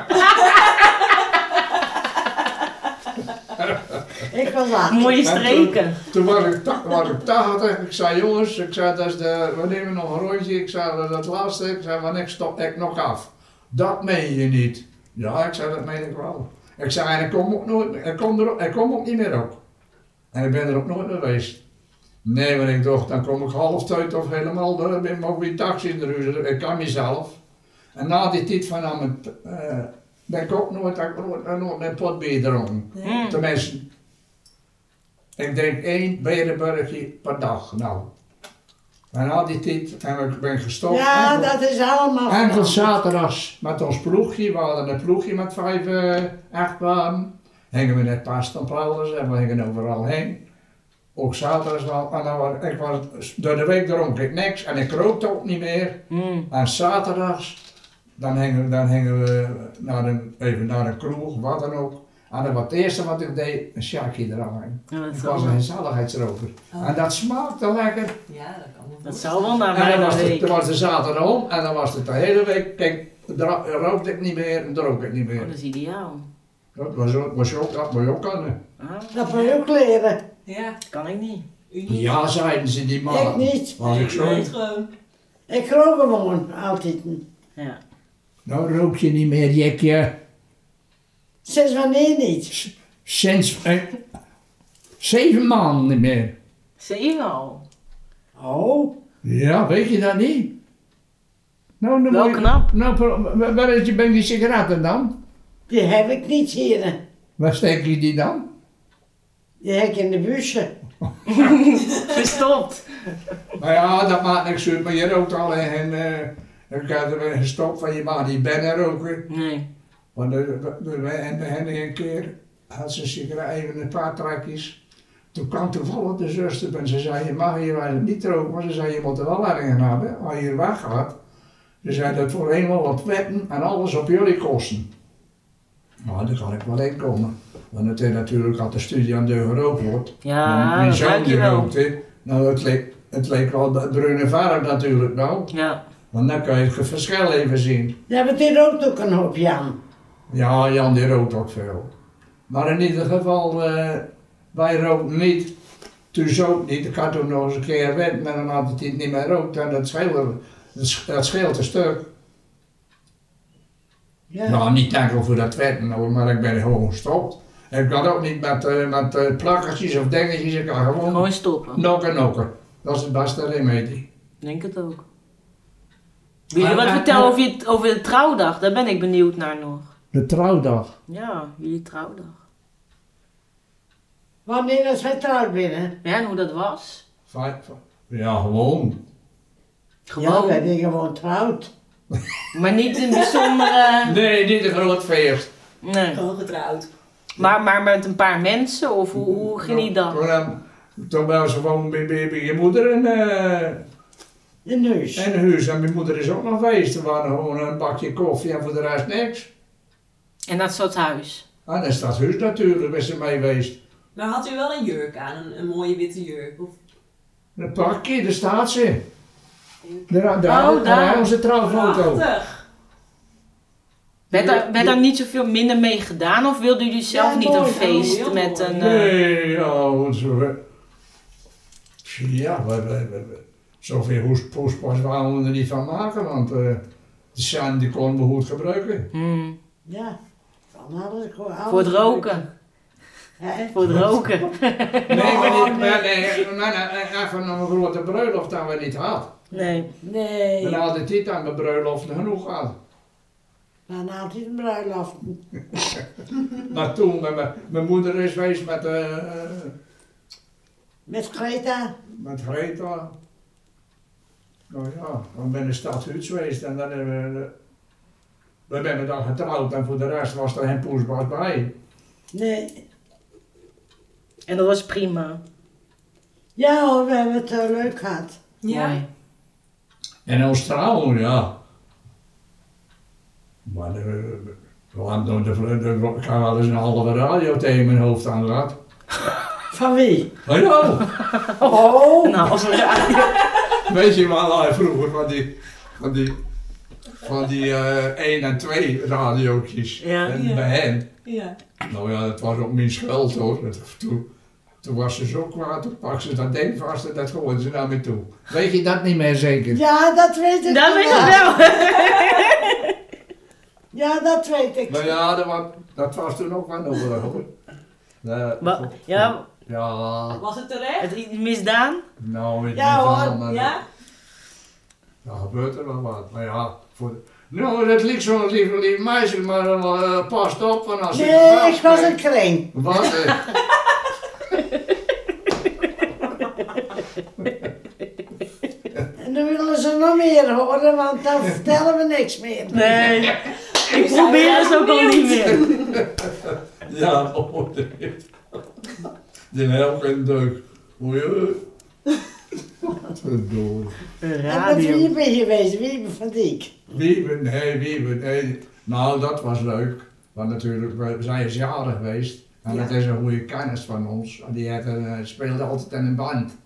E: ik was achterlijk.
G: Mooie streken.
C: Toen was ik, ta- was ik tachtig. Ik zei, jongens, ik zei, dat is de, we nemen nog een rondje. Ik zei, dat is het laatste. Ik zei, wanneer stop ik nog af? Dat meen je niet. Ja, ik zei, dat meen ik wel. Ik zei, en ik kom ook, nooit, ik kom er, ook- ik kom ook niet meer op. En ik ben er ook nooit meer geweest. Nee, maar ik dacht, dan kom ik half tijd of helemaal door. Dan ben ik ook weer taxi in de huis. Ik kan mezelf. En na die tijd van aan mijn, t- eh, ben ik ook nooit, heb ik nooit, nooit mijn pot bier dronken.
G: Hm.
C: Tenminste, ik drink één Berenburgje per dag. Nou, en al die tijd en ik ben gestopt.
E: Ja,
C: enkel,
E: dat is allemaal.
C: enkel
E: veranderd.
C: zaterdags met ons ploegje. We hadden een ploegje met vijf eh echtparen. Hingen we net pastampalers en we hingen overal heen. Ook zaterdags wel. En dan was, ik was, door de week dronk ik niks en ik rookte ook niet meer.
G: Hm.
C: En zaterdags, dan hingen, dan hingen we naar een, even naar een kroeg, wat dan ook. En dan was het eerste wat ik deed, een sjakje eraan.
G: Ja, dat
C: Ik
G: zou
C: was een
G: wel.
C: gezelligheidsroker.
D: Oh.
C: En dat smaakte lekker.
D: Ja, dat kan wel.
G: Dat zou wel naar
C: En
G: mij
C: dan was, het,
G: week.
C: dan was de zaterdag om en dan was het de hele week. Kijk, dra- rookte ik niet meer en dronk ik niet
G: Oh,
C: meer.
G: dat is ideaal.
C: Dat was ook, was ook, dat was ook aan.
G: Ah,
E: Dat moet je ook leren.
D: Ja,
G: dat kan ik niet.
D: uniek.
C: Ja, zeiden ze die man.
E: Ik niet.
C: Was ik zo.
D: Niet gewoon.
E: Ik rook gewoon altijd.
G: Ja.
C: Nou rook je niet meer, jekje.
E: Sinds wanneer niet?
C: Sinds eh, zeven maanden niet meer.
G: Zeven al.
E: Oh,
C: Ja, weet je dat niet? Nou, dan
G: Wel
C: moet je-
G: knap.
C: Nou, pro- waar- waar is je bij die sigaretten dan?
E: die heb ik niet hier.
C: Waar steek je die dan?
E: Die heb ik in de busje.
G: Verstopt.
C: Nou ja, dat maakt niks uit, maar je rookt al eh, en ik had er weer gestopt van je mag niet bennen roken.
G: Nee.
C: Want er, er, en, en een keer had ze een sigaret, even een paar trekjes. Toen kwam toevallig de zuster en ze zei, je mag hier wel niet roken, maar ze zei, je moet er wel aan hebben als je er weggaat. Ze zei, dat voor eenmaal op wetten en alles op jullie kosten. Nou, daar kan ik wel in komen. Want het is natuurlijk al de studie aan de gerookt wordt.
G: Ja,
C: Mijn
G: dat ruik
C: zoon
G: je
C: die
G: wel.
C: rookte, nou het leek, het leek wel de bruine verf natuurlijk nou.
G: Ja.
C: Want dan kun je het verschil even zien.
E: Ja, want die rookt ook een hoop, Jan.
C: Ja, Jan die rookt ook veel. Maar in ieder geval, eh, wij rookten niet. Toen zo niet. Ik had toen nog eens een keer wet, maar dan had hij het niet meer rookt. En dat scheelde, dat sch- dat scheelt een stuk.
E: Ja.
C: Nou, niet enkel voor dat wetten, hoor, maar ik ben gewoon gestopt. Ik kan ook niet met, eh, met eh, plakkertjes of dingetjes. Ik kan gewoon
G: Gewoon stoppen.
C: Nokken, nokken. Dat is het beste remedie.
G: Denk het ook. Wil je
C: Maar-
G: wat
C: maar-
G: vertellen
C: maar-
G: over, je, over de trouwdag? Daar ben ik benieuwd naar nog.
C: De trouwdag.
G: Ja, jullie trouwdag.
E: Wanneer is hij trouwd binnen?
G: Ja, en hoe dat was?
C: Vijf- Ja, gewoon.
E: Ja,
G: Gewoon.
E: ben je gewoon trouwd.
G: maar niet een
C: [laughs]
G: bijzondere...
C: Nee, niet een groot feest.
G: Nee.
D: Gewoon getrouwd.
G: Maar, maar met een paar mensen? Of hoe, hoe ging die dan?
C: Maar dan- Toen waren ze gewoon bij, bij- bij je moeder en, eh
E: Je neus.
C: en huis. En mijn moeder is ook nog geweest. Er waren gewoon een bakje koffie en voor de rest niks. Ah,
G: En dat soort huis.
C: En in Stadshuis natuurlijk is ze mee geweest.
D: Maar had u wel een jurk aan? Een, een mooie witte jurk? Of...
C: Een pakje, daar staat ze. Daar, daar,
G: Oh, daar.
C: daar hangt onze trouwfoto.
D: Prachtig!
G: Werd daar, werd daar niet zoveel minder mee gedaan? Of wilden jullie zelf
E: Ja,
G: niet een
E: mooi.
G: feest
D: Ja, heel
G: met
D: mooi.
G: een... eh,
C: Nee, ja, want zo. Ja, we, we, we, we. zoveel hoespoes waren we er niet van maken, want eh de zijn die konden we goed gebruiken.
G: hmm,
E: Ja. Van alles, gewoon alles.
G: voor het roken.
E: Hè?
G: Voor het roken.
C: Nee, maar
E: Oh,
C: niet, maar nee, nee, nee, even een grote bruiloft dat we niet hadden.
G: Nee.
E: Nee.
C: We hadden dit aan de bruiloft genoeg gehad.
E: Dan had hij een bruiloft.
C: Maar toen, mijn- mijn- mijn moeder is geweest met, eh, eh,
E: Met Greta.
C: met Greta. Nou ja, dan ben ik in Stadhuis geweest en dan hebben we... We ben dan getrouwd en voor de rest was er geen poesbas bij.
E: Nee.
G: En dat was prima.
E: Ja hoor, we hebben het eh, leuk gehad.
D: Ja.
G: Mooi.
C: En ons trouwen, ja. Maar eh, we hadden door de vle- de- ik had wel eens een halve radio tegen mijn hoofd aan Ah, gehad.
E: Van wie?
C: Hallo!
E: Oh!
G: Nou, als we radio...
C: Weet je wel, hij vroeger van die, van die, van die eh 1 en 2 radiootjes.
G: Ja.
C: en
D: Ja.
C: bij hen.
D: Ja.
C: Nou ja, dat was ook mijn schuld hoor. Dat- Toen, toen was ze zo kwaad, toen pakte ze dat ding vast en dat gooide ze naar me toe. Weet je dat niet meer zeker?
E: Ja, dat weet ik
G: Dat
E: nog
G: weet ik wel.
E: Ja, dat weet ik.
C: Maar Nou ja, dat was, dat was toen ook wel nodig hoor. Eh,
G: Wa- Ja,
C: Ja,
D: Was het terecht?
G: het i- misdaan?
C: nou weet
E: Ja,
C: niet
E: hoor,
C: wel, maar
D: Ja?
C: dan gebeurt er wel wat. Maar ja, voor de... Nou, dat liep zo'n lieve, lieve meisje, maar eh, past op, want als je
E: Nee,
C: erbij
E: ik was een
C: spreekt-
E: kring.
C: Wat? eh,
E: En dan willen ze nog meer horen,
C: [laughs]
E: want dan vertellen we niks meer.
G: Nee. Ik
D: zijn
G: probeer
D: erg
G: het ook al niet
D: benieuwd.
G: meer.
C: ja, oh, dit. Die heeft geen deuk. Oei, oei. Verdorie.
G: Een
E: En met
G: Radio.
E: wie ben je geweest? Wie van Dijk?
C: Wiebe, nee, Wiebe, nee. Nou, dat was leuk. Want natuurlijk, we zijn eens jaren geweest. En dat is een goede kennis van ons. En die had een, eh, speelde altijd in een band.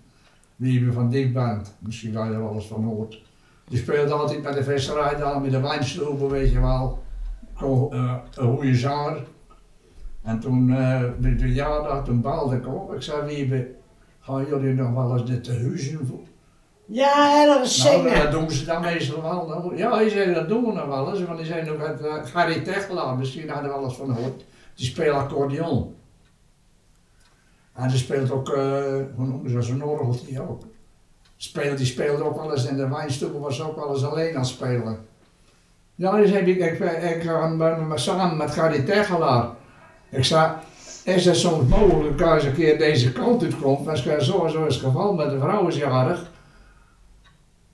C: Wiebe van die band. Misschien waar je er wel eens van hoort. Die speelde altijd met de visserij daar, met de wijnstoepen, weet je wel. Gewoon, eh, een goede zanger. En toen, eh, bij de verjaardag, toen baalde ik op. Ik zei, Wiebe, gaan jullie nog wel eens dit te huizen voor?
E: Ja, ergens
C: Nou,
E: zingen.
C: dat doen ze dan meestal wel. Nou, Ja, hij zei, dat doen we nog wel eens. Want hij zei nog uit eh, Gary Techla, misschien hadden we wel eens van gehoord. Die speelt accordeon. En die speelt ook, eh, hoe noemen ze dat, zo'n orgeltje ook. Speelt, die speelde ook wel eens in de wijnstoel, was ook wel eens alleen aan het spelen. Ja, hij zei, ik, ik, ik eh, ga met- met- samen met Gary Techelaar. Ik zei, is het soms mogelijk als een keer deze kant uitkomt? Maar ze zei, zo en zo is het geval met de vrouw is jarig.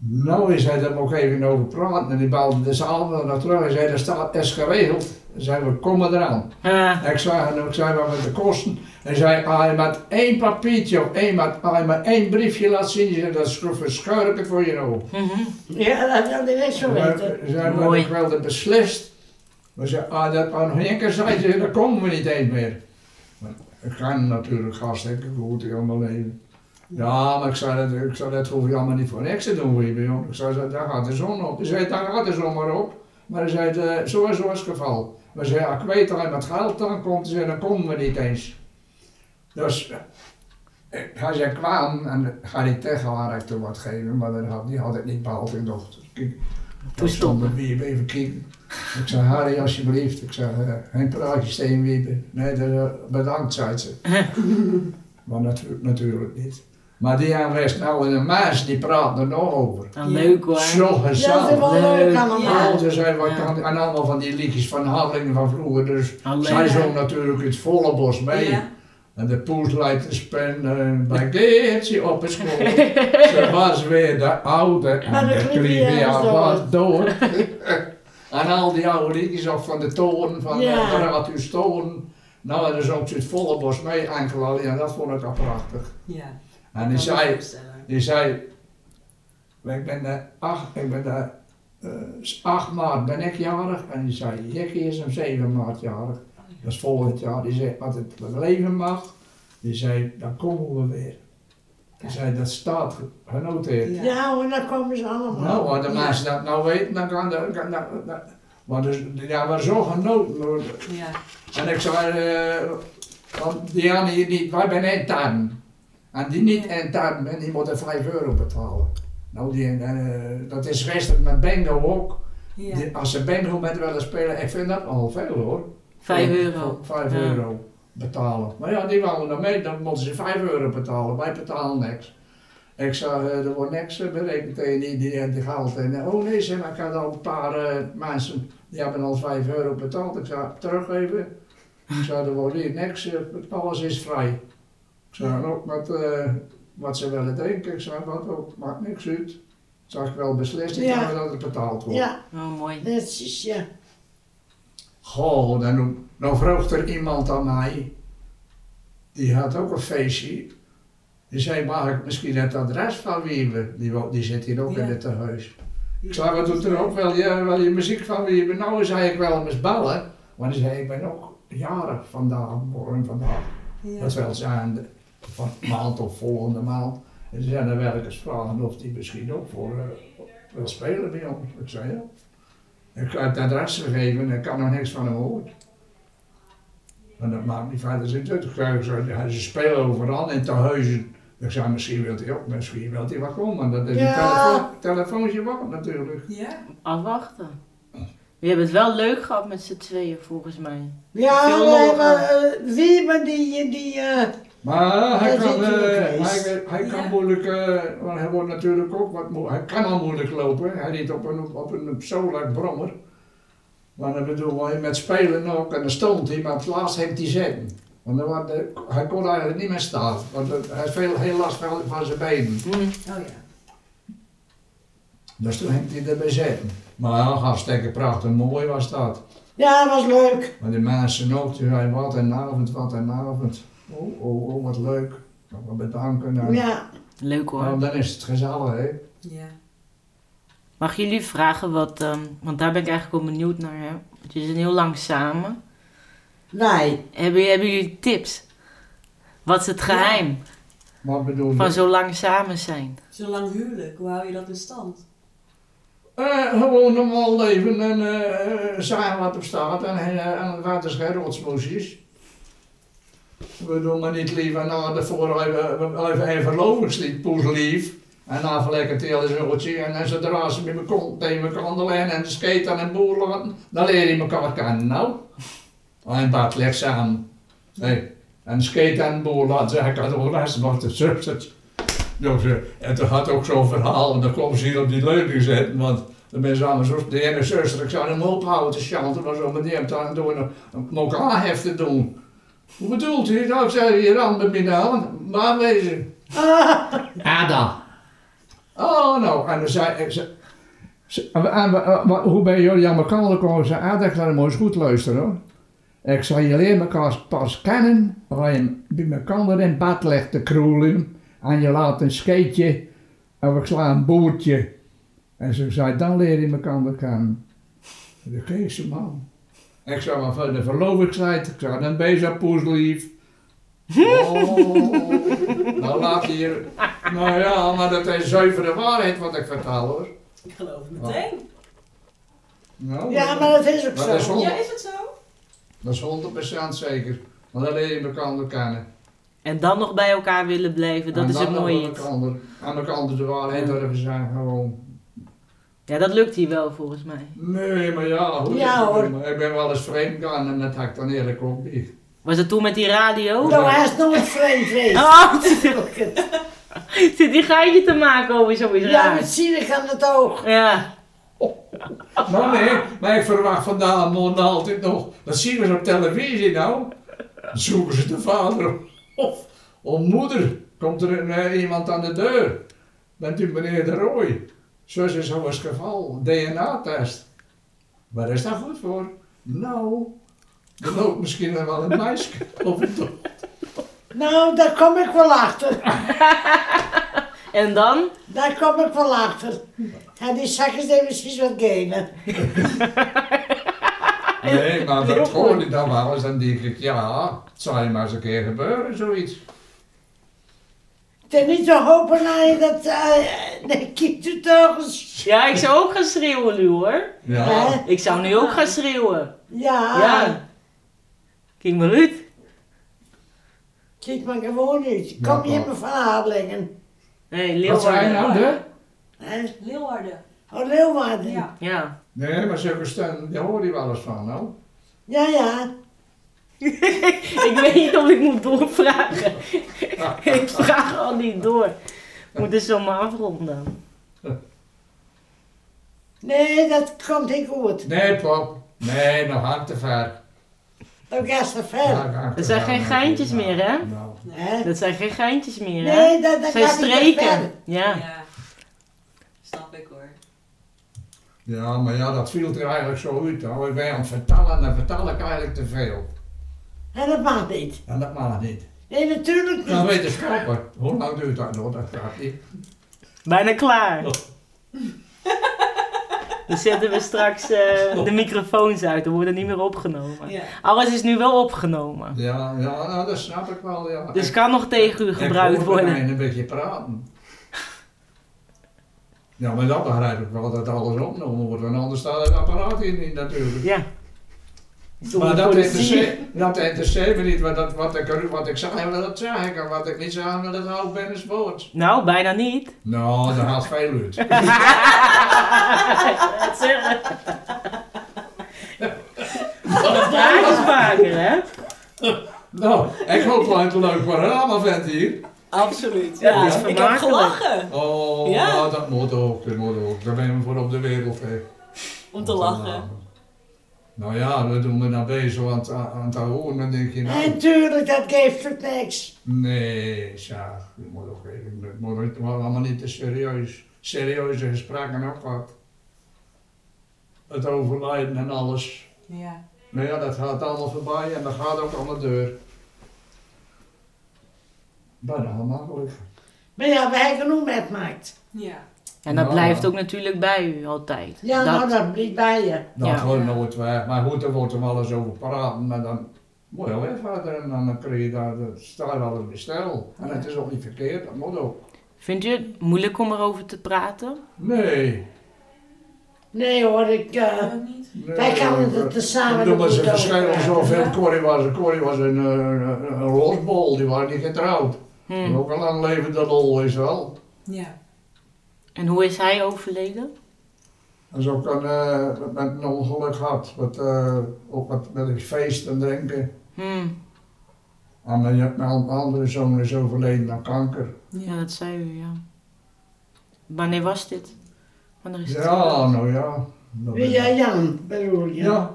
C: Nou, hij zei, daar mocht ik even over praten. En die belde de zaal wel naar terug. Hij zei, dat staat, is geregeld. Hij zei, we komen eraan.
G: Ja.
C: Ik zei, en ik zei, wat met de kosten? Hij zei, als je met één papiertje of één, met, als je maar één briefje laat zien, hij zei, dat is gewoon verschuilijk voor je nou." ogen.
G: Mhm.
E: Ja, dat wilde ik niet zo weten.
C: Hij zei, maar
G: Mooi.
C: ik wilde beslist. We zei, ah, dat aan Henker zei, zei, daar komen we niet eens meer. Maar ik ga hem natuurlijk hartstikke goed, helemaal even. Ja, maar ik zei, dat, ik zei, dat hoef je allemaal niet voor niks te doen, Wiebe, joh. Ik zei, daar gaat de zon op. Hij zei, daar gaat de zon maar op. Maar hij zei, eh, zo en zo is het geval. Maar zei, ja, ik weet alleen met geld dan komt, hij zei, dan komen we niet eens. Dus, eh, hij zei, kwam en ga die tegen haar echt wat geven, maar dat had, die had ik niet behaald. Ik dacht, kijk, toen stond er Wiebe even kijken. Ik zei, Harry, alsjeblieft. Ik zei, eh, geen praatjes tegen Wiebe. Nee, dat, eh, bedankt, zei ze. maar natu- natuurlijk niet. Maar die aan rest nou in een maas, die praat er nog over.
G: Nou, leuk hoor.
C: Zo
E: Ja, dat is
C: gezellig.
E: wel leuk allemaal.
C: Ja, dus hij wat
G: Ja.
C: kan- en allemaal van die liedjes van Harlingen van vroeger. Dus
G: Alleen. eh,
C: zij zong natuurlijk het volle bos mee.
D: Ja.
C: En de poes leidt de spen en baguette eh, op het school. Ze was weer de oude en
E: Maar de
C: de
E: Clivia is
C: Clivia
E: dood.
C: was dood. en al die oude liedjes ook van de toren, van
E: Ja.
C: ja. de Raad uw storen. Nou, en dus ook het volle bos mee enkel al. Ja, dat vond ik al prachtig.
D: Ja.
C: En
D: Kan
C: die
D: me
C: zei,
D: voorstellen.
C: die zei, ik ben de acht, ik ben de, eh, 8 maart ben ik jarig en die zei, Jekkie is om 7 maart jarig. Dat is volgend jaar. Die zei, als het leven mag, die zei, dan komen we weer. Die zei, dat staat genoteerd.
D: Ja.
E: Ja, hoor, dan komen ze allemaal.
C: Nou, als de mensen dat nou weten, dan kan dat, kan dat- dat- want dus, ja, maar zo genoten worden.
D: Ja.
C: En ik zei, eh, want Diane hier niet, wij zijn intern. En die niet intern ben, die moeten 5 euro betalen. Nou, die, eh, dat is gisteren met bingo ook.
D: Ja.
C: Die- als ze bingo met willen spelen, ik vind dat al veel hoor.
G: Vijf
C: Voor-
G: euro.
C: voor Vijf
G: Ja.
C: euro betalen. Maar ja, die wilden dan mee, dan moeten ze 5 euro betalen. Wij betalen niks. Ik zei, eh, er wordt niks eh, berekend tegen die, die, die geld. En eh, oh nee, zeg maar, ik had al een paar eh, mensen, die hebben al 5 euro betaald. Ik zei, teruggeven. Ik zei, er wordt hier niks, eh, alles is vrij. Ik zei, en ook wat, eh, wat ze willen drinken. Ik zei, wat ook, maakt niks uit. Ik zei, ik wel beslist, ik
E: Ja.
C: wil dat het betaald wordt.
E: Ja,
G: Oh, mooi.
E: netjes, ja.
C: Goh, dan, dan vroeg er iemand aan mij, die had ook een feestje. Die zei, mag ik misschien het adres van Wiebe? Die, wo- die zit hier ook in
D: Ja.
C: het tehuis. Ik zei, wat doet er ook? Wil je, wil je muziek van Wiebe? Nou, zei ik wel eens bellen. Want hij zei, ik ben ook jarig vandaag, morgen vandaag.
D: Ja.
C: Dat wil zijn, de- van maand of volgende maand. En ze zijn er wel eens vragen of die misschien ook voor eh, wil spelen bij ons. Ik zei ja. Ik heb het adres gegeven en ik kan nog niks van hem horen. En dat maakt niet verder zin uit. Ik zei, ik zei, ja, ze spelen overal in tehuizen. Ik zei, misschien wil hij ook, misschien wil hij wel komen. Dat is
E: Ja.
C: een telefoon, telefoontje wacht natuurlijk.
D: Ja.
G: Afwachten. We hebben het wel leuk gehad met z'n tweeën, volgens mij.
E: Ja,
G: Veel
E: nee,
G: nog,
E: maar eh, wie maar die, die, eh,
C: Maar hij
E: Dat
C: kan,
E: is natuurlijk
C: eh,
E: geweest.
C: hij, hij kan
D: Ja.
C: moeilijk, eh, want hij wordt natuurlijk ook wat moe. Hij kan al moeilijk lopen. Hij riet op een, op een Solar brommer. Maar ik bedoel, hij met spelen ook, en dan stond hij, maar op het laatst heeft hij zitten. Want dan was de- hij kon eigenlijk niet meer staan, want het- hij heeft veel, heel last van, van zijn benen.
G: Mhm.
D: Oh ja.
C: Dus toen heeft hij erbij zitten. Maar ja, hartstikke prachtig mooi was dat.
E: ja, was leuk.
C: Maar de mensen ook, die zeiden wat een avond, wat een avond. Oh, oh, oh, wat leuk. Nou, Bedanken. En-
E: Oh Ja,
G: Leuk hoor.
C: Nou, dan is het gezellig, hè?
D: Ja.
G: Mag jullie vragen wat, ehm, want daar ben ik eigenlijk wel benieuwd naar. Hè? Want jullie zijn heel lang samen.
E: nee.
G: Hebben, hebben jullie tips? Wat is het geheim
C: Wat bedoel je?
G: van zo lang samen zijn?
D: Zolang huwelijk, hoe hou je dat in stand?
C: Eh, gewoon normaal leven en eh, eh, zagen wat op staat en, eh, en wat is geen rotsmoesjes. We doen maar niet lief en na de vorige even lovingslied, poes lief. En na lekker telen zootje en, en zodra ze met mijn kont tegen elkaar onderleggen en skaten en boeren, want dan leer je elkaar kennen nou. En dat legt ze aan. Hey. En skaten en boeren, dat zeg ik aan de rest nog de zusters. Dus, eh, en toen had ook zo'n verhaal, en dan kwam ze hier op die leuning zitten, want de mensen allemaal zo, de ene zuster, ik zou hem ophouden te chanten, maar zo meneer dan door een, een elkaar te doen. Hoe bedoelt u? Nou, ik zei hier aan met mijn hand, maar wezen. Ada. Oh, nou, en dan zei ik, ze, ze- en we- en we- eh, maar hoe ben jullie aan elkaar gekomen? Ze zei, Ada, ik laat hem eens goed luisteren hoor. Ik zei, je leert elkaar pas kennen, als je bij elkaar in bad legt te kroelen, en je laat een scheetje, en we slaan een boertje. En ze zei, dan leer je elkaar weer kennen. De geest man. Ik zei, maar van de verlovingstijd, ik zei, dan ben je zo poeslief.
E: Hm?
C: Oh, nou laat je hier. Nou ja, maar dat is zuivere waarheid wat ik vertel hoor.
D: Ik geloof het meteen.
C: Nou,
E: Ja, maar dat is ook
C: dat is
E: zo.
C: honderd-
D: Ja, is het zo?
C: dat is 100% zeker. Want alleen je elkaar kennen.
G: En dan nog bij elkaar willen blijven, dat
C: En
G: is
C: dan
G: het
C: nog
G: mooie.
C: aan
G: iets.
C: elkaar- Aan elkaar de waarheid durven zijn gewoon.
G: Ja, dat lukt hier wel volgens mij.
C: Nee, maar ja, hoe
E: Ja, hoor.
C: Ik ben wel eens vreemd gegaan en dat had ik dan eerlijk ook niet.
G: Was het toen met die radio?
E: Nou, hij is nooit vreemd geweest.
G: Oh, [laughs]
E: Ook het-
G: zit die geitje te maken over zoiets
E: [laughs] Ja, met
G: raar.
E: zielig aan het oog.
G: Ja,
C: Nou nee, maar ik verwacht vandaag morgen altijd nog. Dat zien we eens op televisie nou. Dan zoeken ze de vader of, of moeder. Komt er een, eh, iemand aan de deur? Bent u meneer de Roy? Zo is zo eens geval. DNA-test. Waar is dat goed voor? Nou, er loopt misschien wel een meisje [laughs] of een toch.
E: Nou, daar kom ik wel achter.
G: en dan?
E: Daar kom ik wel achter. En die zakken zijn precies wat genen.
C: Nee, maar
G: Heel
C: dat
G: goed.
C: hoorde ik dan wel eens. Dan denk ik, ja, het zal je maar eens een keer gebeuren, zoiets.
E: Het is niet te hopen dat je dat... eh, nee, kiep het toch eens.
G: Ja, ik zou ook gaan schreeuwen nu hoor.
C: Ja,
E: Hè?
G: Ik zou nu ook gaan schreeuwen.
E: Ja.
G: Ja. Kijk maar uit.
E: Kijk maar gewoon uit.
C: Ja,
E: Kom je
C: maar-
E: me van Adelingen.
G: Nee,
C: wat zijn
G: Leeuwarden.
C: nou de?
E: Hè?
D: Leeuwarden.
E: Oh, Leeuwarden. Ja,
D: Ja.
G: Ja. [laughs]
C: Nee, maar zulke stemmen, daar hoor je wel eens van, nou.
E: ja.
G: Ik weet niet of ik moet doorvragen.
E: Ah.
G: [laughs] ik vraag al niet door. Ik moet dus zomaar afronden.
E: Nee, dat komt niet goed.
C: Nee, pap. Nee, nog hard te ver.
E: Dat gaat te
C: Nog
E: ver.
C: hard te
G: Oh, Er zijn
C: ver,
G: geen
C: nou,
G: geintjes
C: nou,
G: meer, hè?
C: nou.
E: Hè?
G: Dat zijn geen geintjes meer, hè?
E: Nee, dat, dat
G: Dat zijn
E: gaat niet te ver.
G: streken. Ja.
D: Ja. Snap ik hoor.
C: Ja, maar ja, dat viel er eigenlijk zo uit. Nou, ik ben aan het vertellen en dan vertel ik eigenlijk te veel.
E: En dat mag niet.
C: En dat mag niet.
E: Nee, natuurlijk
C: Dan
E: niet.
C: wetenschappen. Hoe lang duurt dat nog? Dat gaat niet.
G: Bijna klaar.
C: Oh.
G: [laughs] Dan zetten we straks
C: Oh.
G: eh, de microfoons uit. Dan worden niet meer opgenomen.
D: Ja.
G: Alles is nu wel opgenomen.
C: Ja, ja nou, dat snap ik wel, ja.
G: Dus kan nog tegen u
C: Ik-
G: gebruikt
C: ik hoor
G: worden.
C: Benijn een beetje praten. Ja, maar dat begrijp ik wel, dat alles opgenomen wordt. Want anders staat het apparaat hier niet natuurlijk.
G: Ja.
C: Maar dat
G: is
C: interesseert, dat interesseert me niet, want dat, wat, ik, er- wat ik zeg, wil dat zeg ik. En wat ik niet zeg, wil dat hou ik binnen sport.
G: Nou, bijna
E: [laughs]
G: niet.
C: Nou, dat haalt veel uit.
G: Dat zeggen. Dat praatjes vaker, hè?
C: [laughs] nou, ik hoop wel een leuk panorama vindt hier.
D: Absoluut.
G: Ja,
D: Ja.
G: dat is
D: ik heb
G: vermakelijk.
D: gelachen
C: Oh,
D: Ja.
C: nou, dat moet ook, dat moet ook. Daar ben je voor op de wereld, hè.
D: om te lachen.
C: Nou ja, dat doen we nou bezig, want aan, aan het horen, dan denk je nou...
E: En tuurlijk, dat geeft ook niks.
C: Nee, Sjaak, je moet ook even, het moet ook wel allemaal niet te serieus. Serieuze gesprekken ook wat. Het overlijden en alles.
D: Ja.
C: Nou ja, dat gaat allemaal voorbij en dat gaat ook aan de deur. Bijna gemakkelijk.
E: Maar ja, wij hebben genoeg met maakt.
D: Ja.
G: En dat
C: Nou,
G: blijft
C: ja.
G: ook natuurlijk bij u altijd.
E: Ja, nou, dat blijft bij je.
C: Dat
G: Ja.
C: wordt nooit weg. Maar goed, er wordt er wel eens over praten, maar dan moet je weer verder en dan krijg je daar, dat staat wel eens bij stil. En het is ook niet verkeerd, dat moet ook.
G: Vindt u het moeilijk om erover te praten?
C: Nee.
E: Nee hoor, ik... eh,
D: Ook niet.
C: nee
E: wij kunnen
C: dat-
E: het tezamen
C: Toen was
E: goed
C: er verschil
E: over
C: zoveel.
E: praten.
C: Corrie was, Corrie was een, eh, een, een losbol, die waren niet getrouwd.
G: Hm.
C: Ook een lang levende lol is wel.
D: Ja.
G: En hoe is hij overleden?
C: Dat is ook een, eh, met een ongeluk gehad. Wat, eh, ook wat met het feest en drinken.
G: Hm.
C: En mijn, mijn andere zoon is overleden aan kanker.
G: Ja, dat zei u, ja. Wanneer was dit? Wanneer is het?
C: Ja, nou ja. Dat
E: Wie
C: is-
E: jij Jan bedoel je?
C: Ja,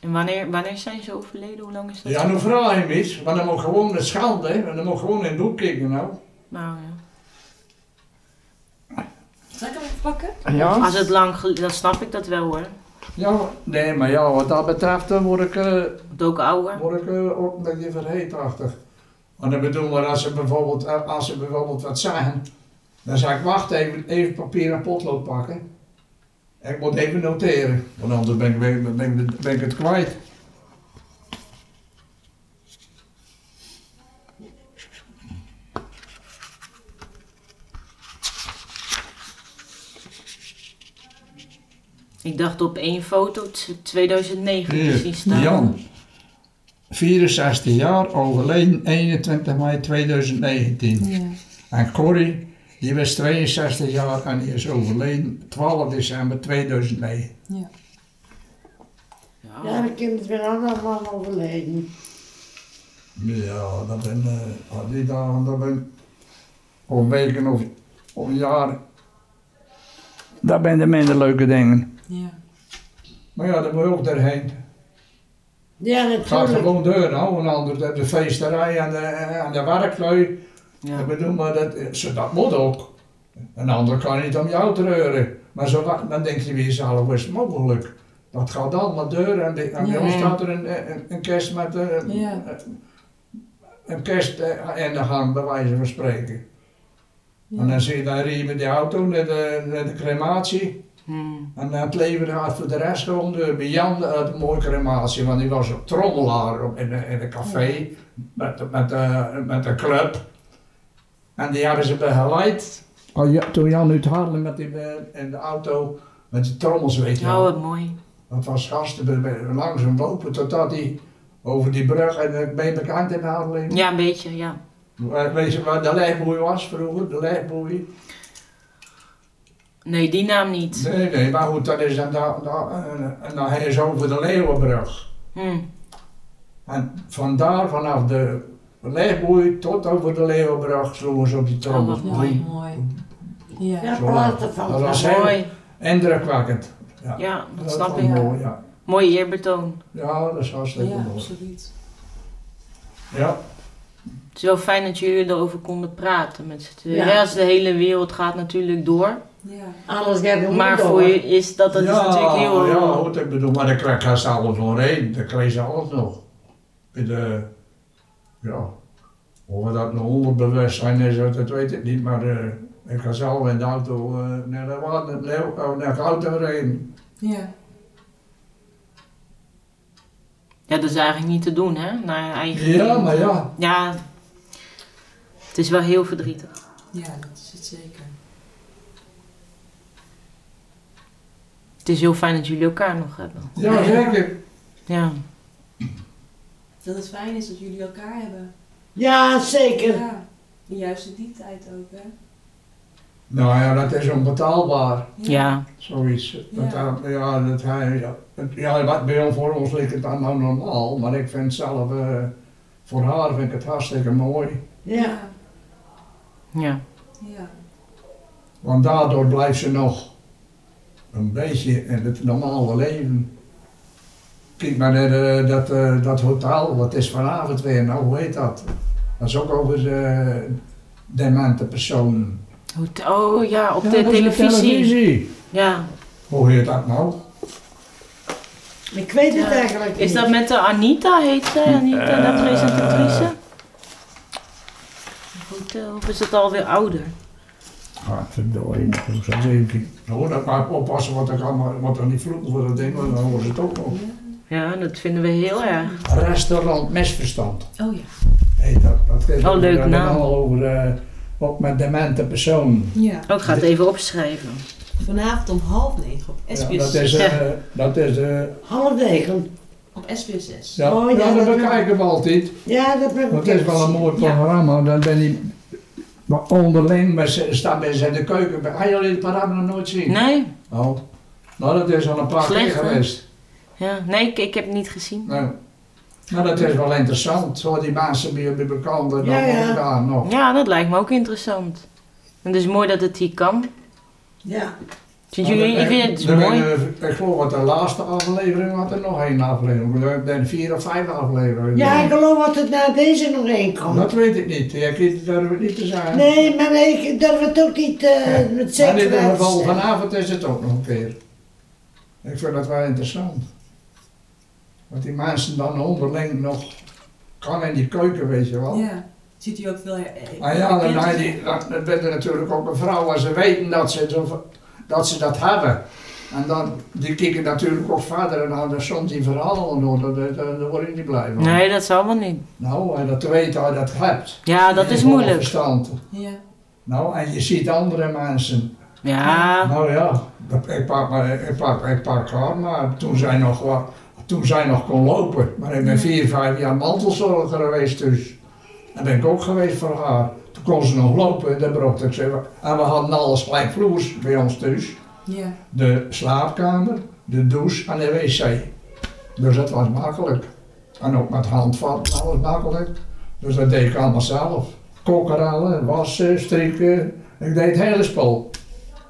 G: En wanneer, wanneer zijn ze overleden? Hoe lang is dat?
C: ja, nou vraag je hem iets. Want dan moet gewoon de schande, hè. Want dan moet gewoon in het boek kijken nou.
G: Nou ja.
D: Zal ik hem even pakken?
C: Ja?
G: Als het lang gel- dan snap ik dat wel hoor.
C: ja? Nee, maar ja, wat dat betreft dan word ik, eh,
G: Het ook ouder.
C: word ik eh, ook een beetje verheetachtig. Want ik bedoel, maar als ze bijvoorbeeld, eh, als ze bijvoorbeeld wat zeggen, dan zeg ik, wacht even, even papier en potlood pakken. En ik moet even noteren, want anders ben ik, weer- ben ik, ben ik het kwijt.
G: Ik dacht op één foto t- 2009 te zien
C: Hier,
G: staan.
C: Jan. 64 jaar, overleden 21 mei 2019.
G: Ja.
C: En Corrie, die was 62 jaar en die is overleden 12 december 2009.
E: Ja, de kinderen zijn allemaal overleden.
C: Ja, dat ben eh, die dagen, dat ben of weken of, of jaren. Dat zijn de minder leuke dingen.
D: Ja.
C: Maar ja, dat moet je ook doorheen.
E: Ja,
C: Ga
E: natuurlijk.
C: gewoon deur, nou, anders heb je de feesterij en de, en de werklui.
G: Ja.
C: Ik bedoel, maar dat, zo, dat moet ook. Een ander kan niet om jou treuren. Maar zo, wa- dan denk je weer zelf, hoe is het mogelijk? Dat gaat allemaal deur en, die, en bij
D: Ja.
C: ons staat er een, een, een kerst met eh,
D: Ja.
C: een kerst eh, in de gang, bij wijze van spreken. En dan zie je daar hier met die auto naar de, naar de crematie.
G: Hmm.
C: En het leven gaat voor de rest gewoon door. Bij Jan had een mooie crematie, want die was een trommelaar op- in, een- in een café met, met, eh, met een club. En die hebben ze begeleid. Oh, ja, toen Jan uit Haarlem met die, eh, in de auto, met die trommels, weet je
G: Oh,
C: wel.
G: wat mooi.
C: Dat was gasten be- be- langzaam lopen totdat hij over die brug, en ik ben je bekend in Haarlem.
G: Ja, een beetje, ja.
C: Waar- Weet je waar de legboei was vroeger? De legboei?
G: Nee, die naam niet.
C: Nee, nee, maar goed, dat is dan, dan, dan, en dan hij is over de Leeuwenbrug.
G: Hmm.
C: En vandaar vanaf de leegboei tot over de Leeuwenbrug sloegen ze op die
G: Oh,
C: trommel.
G: wat mooi.
D: Mooi. Ja.
E: Ja, platen
C: Dat was
E: van.
C: heel
G: Mooi.
C: indrukwekkend. Ja,
G: Ja, dat
C: was
G: snap
C: wel
G: ik.
C: Mooi, ja.
G: Mooi eerbetoon.
C: ja, dat is hartstikke
D: Ja,
C: mooi.
D: absoluut.
C: Ja,
G: Het is wel fijn dat jullie erover konden praten met z'n tweeën.
E: Ja.
G: Ja, als de hele wereld gaat natuurlijk door.
D: Ja.
E: Alles gaat goed
G: Maar
E: door.
G: voor je is dat, dat is
C: ja,
G: natuurlijk heel...
C: Ja, goed, ik bedoel, maar dan krijg je ze alles doorheen. Dan kreeg ze alles nog. Bij de, ja, of dat een onderbewustzijn is, dat dat weet ik niet. Maar eh, ik ga zelf in de auto eh, naar de water, naar, oh, naar de auto rijden.
D: Ja.
G: Ja, dat is eigenlijk niet te doen, hè? Naar je eigen
C: Ja,
G: kind.
C: maar ja,
G: Ja, het is wel heel verdrietig.
D: Ja, dat is het zeker.
G: Het is heel fijn dat jullie elkaar nog hebben.
C: Ja, zeker.
G: Ja.
D: Dat het fijn is dat jullie elkaar hebben.
E: Ja, zeker.
D: Ja. Juist in die tijd ook, hè?
C: Nou ja, dat is onbetaalbaar,
G: Ja.
C: zoiets. Dat,
D: Ja.
C: hij- ja, dat hij, ja, het- ja, wat bij ons voor ons ligt het dan nou normaal, maar ik vind zelf, eh, voor haar vind ik het hartstikke mooi.
E: Ja.
G: Ja.
D: Ja.
C: Want daardoor blijft ze nog een beetje in het normale leven. Kijk maar naar eh, dat, eh, dat hotel, wat is vanavond weer, nou hoe heet dat? Dat is ook over de demente persoon.
G: Hoe t- Oh ja, op
C: Ja,
G: de
C: dat is
G: televisie.
C: televisie.
G: Ja.
C: Hoe heet dat nou?
E: Ik weet het
G: Ja.
E: eigenlijk niet.
G: Is dat met de Anita, heet zij? Anita, de presentatrice? Goed, eh, of is dat alweer ouder?
C: Ah, verdorie, hoe zou ik Nou, dat maar oppassen wat er, allemaal, wat er niet vloeken voor dat ding, want dan horen ze het ook nog.
G: Ja, dat vinden we heel erg.
C: Restaurant Mesverstand.
D: Oh ja.
C: Heet dat. dat is
G: Oh, leuk
C: dat
G: naam.
C: Al over, eh, ook met demente persoon.
D: Ja.
G: Oh, ik ga het even opschrijven.
D: Vanavond om half negen op
C: Ja,
D: SBS.
C: dat is, eh, dat is, eh,
E: Half negen.
D: Op SBS.
C: ja.
E: Oh, ja,
C: ja, dat
E: dat-
C: bekijken we altijd.
E: Ja, dat ben ik
C: Dat is wel een mooi programma, dan ben je maar onderling, maar ze staan mensen in de keuken. bij- Heb je dit programma nog nooit zien?
G: Nee?
C: Oh, nou dat is al een paar keer
G: Slecht, hè?
C: geweest.
G: Ja. Nee, ik, ik heb het niet gezien.
C: Nou, nou, dat is wel interessant. Zo die mensen bij bij elkaar dan
E: Ja, ja.
C: daar nog.
G: Ja, dat lijkt me ook interessant. En het is mooi dat het hier kan.
E: Ja.
G: Vind jullie,
C: Nou,
G: ik vind het
C: Dan ben
G: mooi.
C: je- Ik geloof dat de laatste aflevering had er nog één aflevering. We hebben vier of vijf afleveringen.
E: ja, ik geloof dat het na deze nog één komt.
C: Dat weet ik niet. Ik weet het durf ik niet te zeggen.
E: Nee, maar ik durf het ook niet eh, met
C: maar in
E: zekerheid
C: ieder geval,
E: te zeggen.
C: vanavond is het ook nog een keer. Ik vind dat wel interessant. Wat die mensen dan onderling nog kan in die keuken, weet je wel.
D: Ja. Ziet u ook veel... eh,
C: Ah ja, dan,
D: herkend?
C: hij die, dan dan ben je natuurlijk ook een vrouw en ze weten dat ze, zo- dat, ze dat hebben. En dan, die kijken natuurlijk ook verder en dan soms die verhalen door, daar, daar, daar- daar word ik niet blij van.
G: Nee, dat zal wel niet.
C: Nou, en dat te weten dat je dat hebt.
G: Ja, dat
C: En
G: is
C: vol
G: moeilijk.
C: Verstand.
D: Ja.
C: Nou, en je ziet andere mensen
G: Ja,
C: Nou ja, dat- ik pak, maar, ik pak, ik pak haar, maar toen zij nog wat, toen zij nog kon lopen. Maar ik ben vier, vijf jaar mantelzorger geweest dus. En ben ik ook geweest voor haar. Toen kon ze nog lopen en dan bracht ik ze. En we hadden alles gelijk vloers bij ons thuis.
D: Ja.
C: De slaapkamer, de douche en de wc. Dus dat was makkelijk. En ook met handvat, alles makkelijk. Dus dat deed ik allemaal zelf. Kokkeralen, wassen, strikken. Ik deed het hele spul.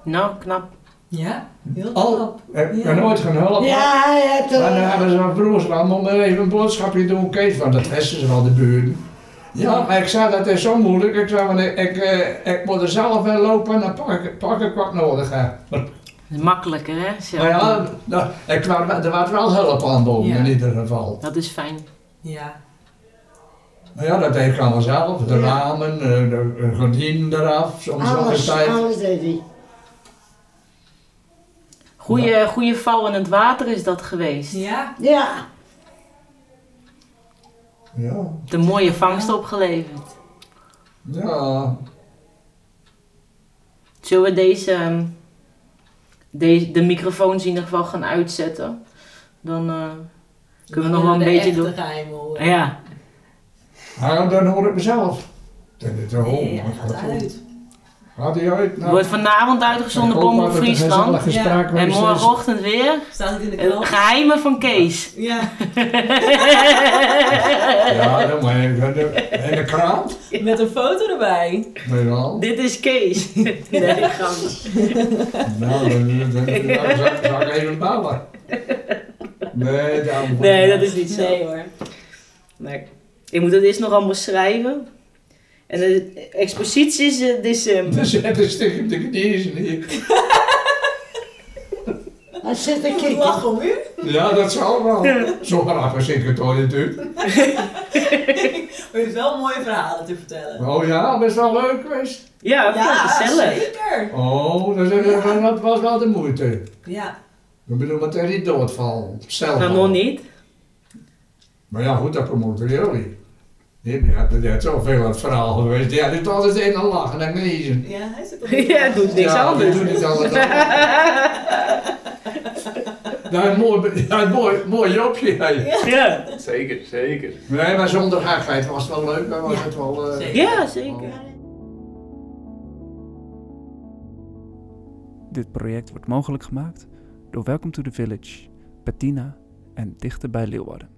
G: nou knap.
D: Ja, heel
C: Al-
D: knap.
C: Ik heb
D: Ja.
C: nooit geen hulp.
E: Ja, hij heeft eh,
C: Maar dan
E: er...
C: hebben ze mijn broers wel nog maar even een boodschapje doen, Kees, want dat wisten ze wel, de buren. Ja, maar ik zei, dat is zo moeilijk. Ik zei, want ik, ik, eh, ik moet er zelf wel lopen en dan pak ik, pak ik wat nodig heb.
G: Dat is makkelijker, hè? zelf
C: Maar ja,
G: doen.
C: nou, ik, kwam- er was wel hulp aan de hand,
D: Ja.
C: in ieder geval.
G: Dat is fijn.
D: Ja.
C: Maar ja, dat deed ik allemaal zelf. De
E: Ja.
C: ramen, eh, de de gordijnen eraf, soms nog een
E: Alles,
C: tijd.
E: alles deed hij.
G: Goeie, goeie val in het water is dat geweest.
D: Ja.
E: Ja,
C: Ja,
G: De mooie vangst opgeleverd.
C: ja.
G: Zullen we deze, ehm, deze de microfoons in ieder geval gaan uitzetten? Dan eh, kunnen we nog wel een
D: De
G: beetje
D: echte
G: doen.
D: geheimen horen.
G: Ja,
C: Nou, dan hoor ik mezelf. Dan denk ik, oh,
D: Nee, gaat uit.
C: gaat hij uit? Nou,
G: wordt vanavond uitgezonden
C: ik hoop
G: Bombe
C: dat het een
G: Friesland.
C: gezellig gesprek
G: En
C: was.
G: morgenochtend weer.
D: Staat het in de
G: eh,
D: krant?
G: Geheimen van Kees.
D: Ja,
C: Ja, dan moet je in de, in de krant.
D: met een foto erbij.
C: Nee, wel.
G: Dit is [laughs] Kees. Nee, grapje.
C: Nou, dan, dan, dan, dan zou- zou ik even bellen. Nee, dan,
G: nee, dat is niet zo.
D: Nee hoor.
G: Nee. Ik moet het eerst nog allemaal schrijven. En de expositie is eh, december.
C: Dus het is tegen de knieën hier.
E: hij zit te
D: Ik
E: kijken.
D: lach om u.
C: Ja, dat zal wel. Zo graag als ik het ooit doe.
D: Maar je hebt wel mooie verhalen te vertellen.
C: Oh ja, best wel leuk geweest.
G: Ja, ja gezellig.
D: zeker.
C: Oh, dat, is- dat was wel de moeite.
D: Ja.
C: Ik bedoel, wat er niet doodval. Zelf.
G: Nou, nog niet.
C: Maar ja, goed, dat promoten jullie. Ja, dat is zoveel aan het verhaal geweest. Ja, dit altijd in een lachen en kniezen.
D: Ja, hij zit op de
G: [laughs] Ja, doet niks
C: ja,
G: anders.
C: Dat doe ik
G: [laughs]
C: altijd. nou, een mooi, ja, een mooi, mooi jobje. hè.
G: Ja,
F: Zeker, zeker.
C: Nee, maar zonder gekheid was het wel leuk. Maar was het wel, eh,
D: zeker.
G: ja zeker.
A: Dit project wordt mogelijk gemaakt door Welcome to the Village, Bettina en Dichter bij Leeuwarden.